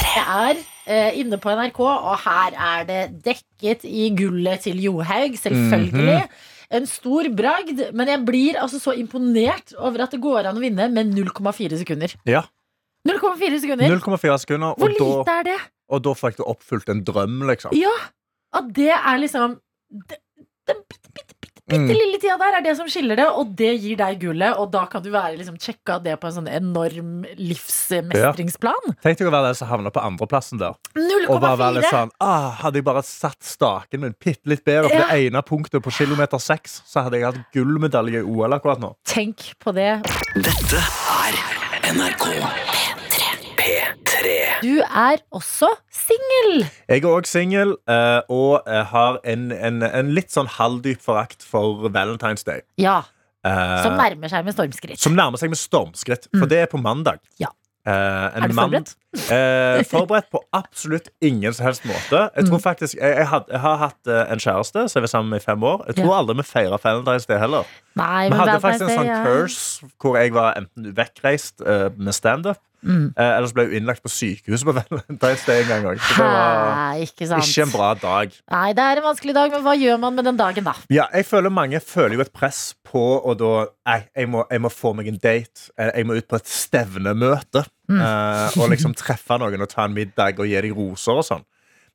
Det er eh, inne på NRK, og her er det dekket i gullet til Johaug, Mhm. selvfølgelig. En stor bragd, men jeg blir altså så imponert over at det går an å vinne med 0,4 sekunder. Ja. 0,4 sekunder! 0,4 sekunder, Hvor og da, lite er det? og da fikk du oppfylt en drøm, liksom. Ja! At det er liksom det- Den bitte, bitte, bitte, bitte Mm. lille tida der er det som skiller det, og det gir deg gullet, og da kan du være liksom sjekka det på en sånn enorm livsmestringsplan. Tenk deg å være den som havna på andreplassen der. Og bare 0,4! være litt sånn ah, Hadde jeg bare satt staken min bitte litt bedre på det ene punktet på kilometer seks, så hadde jeg hatt gullmedalje i OL akkurat nå. Tenk på det. Dette er NRK P3. Du er også singel! Jeg er òg singel eh, og eh, har en, en, en litt sånn halvdyp forakt for Valentine's Day. Ja, Eh, som nærmer seg med stormskritt. som nærmer seg med stormskritt, for det er på mandag. Ja. Eh, en Er du mann- forberedt? Eh, forberedt på absolutt ingen som helst måte. Jeg Mm. tror faktisk, jeg, jeg, had, jeg har hatt eh, en kjæreste som jeg var sammen med i fem år. Jeg tror aldri vi feira Valentine's Day heller. Nei, Vi men hadde Valentine's faktisk en Day, sånn ja. curse hvor jeg var enten vekkreist eh, med standup, Mm. eh, eller så ble jeg innlagt på sykehuset på Valentine's Day en gang. også. Så det var Hæ, ikke sant. ikke en bra dag. Nei, det er en vanskelig dag, men hva gjør man med den dagen, da? Ja, jeg føler Mange føler jo et press på å da Nei, jeg må, jeg må få meg en date. Eh, Jeg må ut på et stevnemøte. Mm. eh, og liksom treffe noen og ta en middag og gi dem roser og sånn.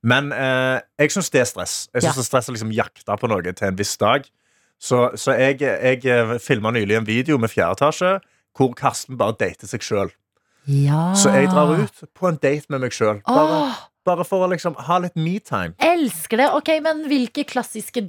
Men eh, jeg syns det er stress. Jeg Ja. synes det er stress å liksom jakte på noe til en viss dag. Så, så jeg, jeg filma nylig en video med fjerde etasje hvor Karsten bare dater seg sjøl. Ja. Så jeg drar ut på en date med meg sjøl. Bare, Åh, bare for å liksom ha litt metime. elsker det! Ok, men hvilke klassiske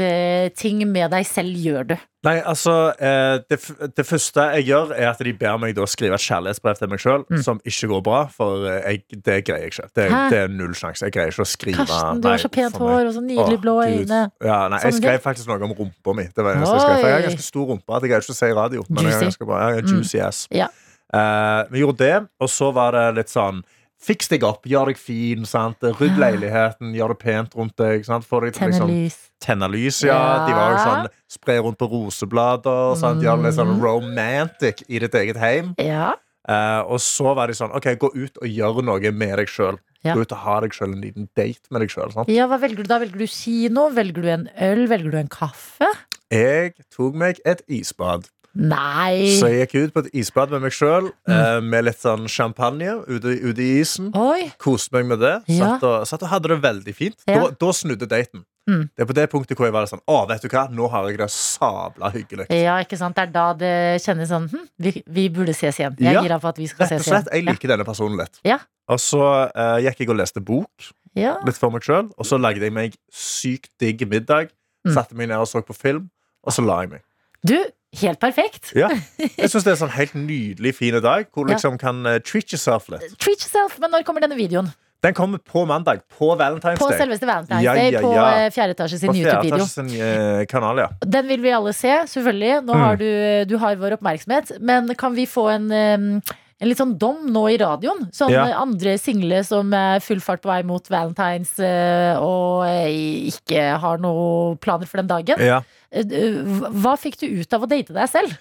date-ting med deg selv gjør du? Nei, altså eh, det, f- det første jeg gjør, er at de ber meg da skrive et kjærlighetsbrev til meg sjøl, Mm. som ikke går bra, for eh, jeg, det greier jeg ikke. Det, Hæ? det er null sjanse. Jeg greier ikke å skrive Karsten, du har nei, så pent for meg. hår og så nydelig Åh, blå Gud. øyne. Ja, nei, jeg Sånn, skrev det- faktisk noe om rumpa mi. Det var det eneste jeg skrev. For Jeg har ganske stor rumpe at jeg greier ikke å si i radio. Men jeg Juicy. har ganske bra. Jeg har en Mm. juicy ass. Ja. Eh, vi gjorde det, og så var det litt sånn Fiks deg opp, gjør deg fin, sant? rydd Ja. leiligheten, gjør det pent rundt deg. Sant? Få deg til Tenner liksom lys. tenne lys, ja. De var jo Ja. Mm. sånn spre rundt på roseblader. Sant? De var litt sånn romantic i ditt eget heim. Ja. Eh, og så var de sånn OK, gå ut og gjør noe med deg sjøl. Ja. Gå ut og ha deg sjøl en liten date med deg sjøl. ja, hva velger du da? Velger du kino? Velger du en øl? Velger du en kaffe? Jeg tok meg et isbad. Så Nei! jeg gikk ut på et isbad med meg sjøl, Mm. med litt sånn champagne ute, ute i isen. Oi! Koste meg med det. Ja. Satt, og, satt og hadde det veldig fint. Ja. Da, da snudde daten. Mm. Det er på det punktet hvor jeg var sånn Å, vet du hva, nå har jeg det sabla hyggelig. Ja, ikke sant? Det er da det kjennes sånn hm, vi, vi burde ses igjen. Jeg Ja. gir av for at vi skal Rett og ses slett, igjen. Jeg liker denne personen litt. Ja. Og så eh, gikk jeg og leste bok Ja. litt for meg sjøl. Og så lagde jeg meg sykt digg middag. Mm. Satte meg ned og så på film, og så la jeg meg. Du, helt perfekt. Ja. Jeg syns det er en sånn helt nydelig fin dag hvor du Ja. liksom kan eh, treat yourself litt. Treat yourself, men når kommer denne videoen? Den kommer på mandag, på Valentine's På Day. selveste Valentine's Ja, Day ja, på ja. eh, fjerde etasje sin På fjerde YouTube-video. etasje sin eh, kanal, ja. Den vil vi alle se, selvfølgelig. Nå Mm. har du, du har vår oppmerksomhet. Men kan vi få en, eh, en litt sånn dom nå i radioen? Sånn Ja. eh, andre single som er full fart på vei mot Valentine's eh, og eh, ikke har noen planer for den dagen. ja. Eh, hva- Hva fikk du ut av å date deg selv?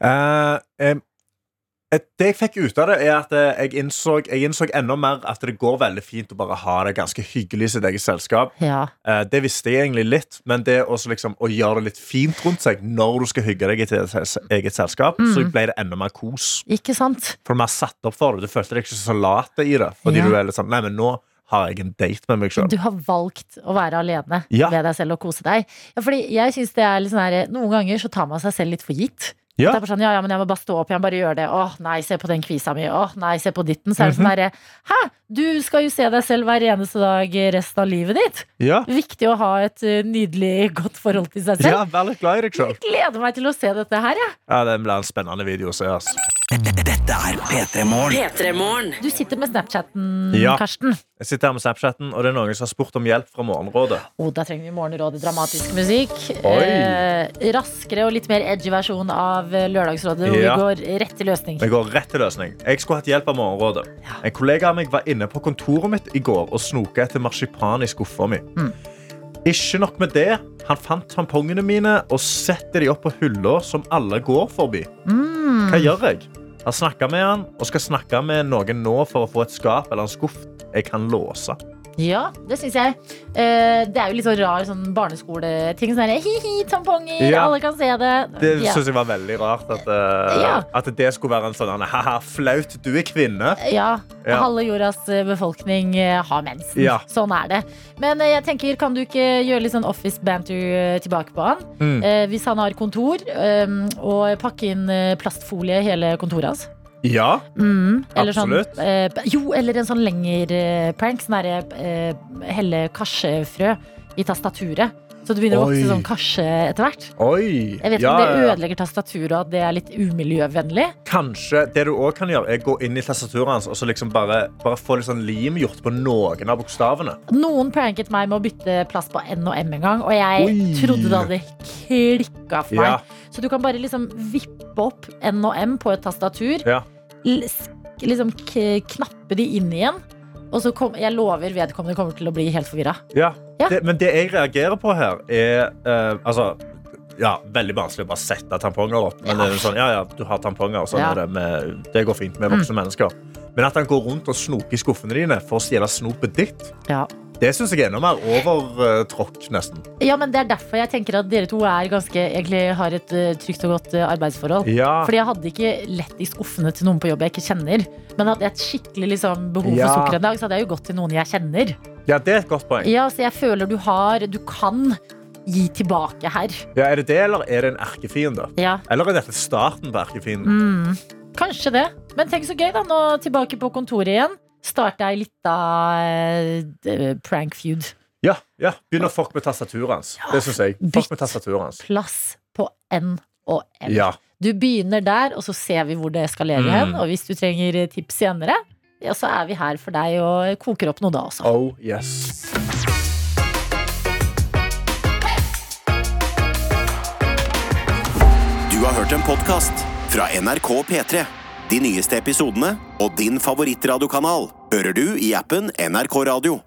Eh, em, et- det jeg fikk ut av det, er at eh, jeg innså, jeg innså enda mer at det går veldig fint å bare ha det ganske hyggelig i sitt eget selskap. Ja Eh, Det visste jeg egentlig litt, men det også liksom å gjøre det litt fint rundt seg når du skal hygge deg i ditt eget- eget selskap, Mm. så ble det enda mer kos. Ikke sant? For du har satt opp for det. Du følte deg ikke så lat i det. Fordi Ja. du er litt sånn Nei, men nå har jeg en date med meg sjøl. Du har valgt å være alene Ja. med deg selv og kose deg. Ja, fordi jeg synes det er litt sånn her, Noen ganger så tar man seg selv litt for gitt. Ja. Det er bare sånn, ja, ja, men jeg må bare stå opp, jeg må bare gjøre det. Åh, nei, se på den kvisa mi. Åh, nei, se på ditten. Så er det Mhm. sånn herre, hæ, du skal jo se deg selv hver eneste dag resten av livet ditt. Ja. Viktig å ha et eh, nydelig, godt forhold til seg selv. ja, vær litt glad i deg sjøl. Jeg gleder meg til å se dette her, jeg. Ja, det blir en spennende video å se. ass. Dette er P3 Morgen. P3-morgen. Du sitter med Snapchatten, Ja. Karsten. Jeg sitter her med Snapchatten, og det er noen som har spurt om hjelp fra Morgenrådet. Oh, da trenger vi Morgenrådet dramatisk musikk. Oi. Eh, raskere og litt mer edgy versjon av eh, Lørdagsrådet, hvor Ja. vi går rett til løsning. Vi går rett til løsning. Jeg skulle hatt hjelp av Morgenrådet. En kollega av meg var inne på kontoret mitt i går og snoka etter marsipan i skuffa mi. Mm. Ikke nok med det. Han fant Mm. tampongene mine og setter de opp på hylla som alle går forbi. Hva gjør jeg? Har snakka med han, og skal snakke med noen nå for å få et skap eller en skuff jeg kan låse. Ja, det syns jeg. Eh, det er jo litt sånn rar sånn barneskoleting. Sånn her, Hi-hi, tamponger, Ja. alle kan se det. Det ja. synes jeg var veldig rart. At, eh, Ja. at det skulle være en sånn haha, flaut, du er kvinne. Ja, Ja. halve jordas eh, befolkning eh, har mensen. Ja. Sånn er det. Men eh, jeg tenker, kan du ikke gjøre litt sånn office banter eh, tilbake på han? Mm. Eh, Hvis han har kontor, eh, og pakke inn eh, plastfolie i hele kontoret hans. Ja. Mm, eller sånn, Absolutt. eh, jo, eller en sånn lengre prank. Sånn derre eh, helle karsefrø i tastaturet. Så det begynner å vokse Oi. sånn karse etter hvert. Oi. Jeg vet ja, ikke om ja, det ja. ødelegger tastaturet og at det er litt umiljøvennlig. Kanskje det du også kan gjøre, er gå inn i tastaturet hans og så liksom bare, bare få litt sånn lim gjort på noen av bokstavene. Noen pranket meg med å bytte plass på N og M en gang, og jeg Oi. trodde det hadde klikka for meg. Ja. Så du kan bare liksom vippe opp N og M på et tastatur, Ja. l- sk- liksom k knappe de inn igjen, og så kom, jeg lover vedkommende kommer til å bli helt forvirra. Ja. Ja. Det, men det jeg reagerer på her, er eh, altså, ja, Veldig vanskelig å bare sette tamponger opp. Men det er jo sånn, ja, ja, du har tamponger, sånn Ja. Mm. er det, med, det går fint med voksne mennesker. Men at han går rundt og snoker i skuffene dine for å stjele snopet ditt, Ja. det syns jeg er enda mer overtråkk, nesten. ja, men det er derfor jeg tenker at dere to er ganske, egentlig har et eh, trygt og godt eh, arbeidsforhold. Ja. Fordi jeg hadde ikke lett i skuffene til noen på jobb jeg ikke kjenner. Men hadde jeg et skikkelig liksom, behov for Ja. sukker en dag, så hadde jeg jo gått til noen jeg kjenner. ja, det er et godt poeng. Ja, så jeg føler du har Du kan gi tilbake her. Ja, er det det, eller er det en erkefiende? Ja, Eller er dette starten på erkefienden? mm. Kanskje det. Men tenk så gøy, da. Nå tilbake på kontoret igjen. Starte ei lita eh, prank feud. Ja, ja. Begynn å fuck med tastaturet hans. Det syns jeg. Bytt. Fuck med tastaturet hans. Plass på N og M. Ja. Du begynner der, og så ser vi hvor det eskalerer Mm. hen. Og hvis du trenger tips senere, ja, så er vi her for deg og koker opp noe da også. Oh yes. Du har hørt en podcast fra NRK P3. De nyeste episodene og din favorittradiokanal hører du i appen NRK Radio.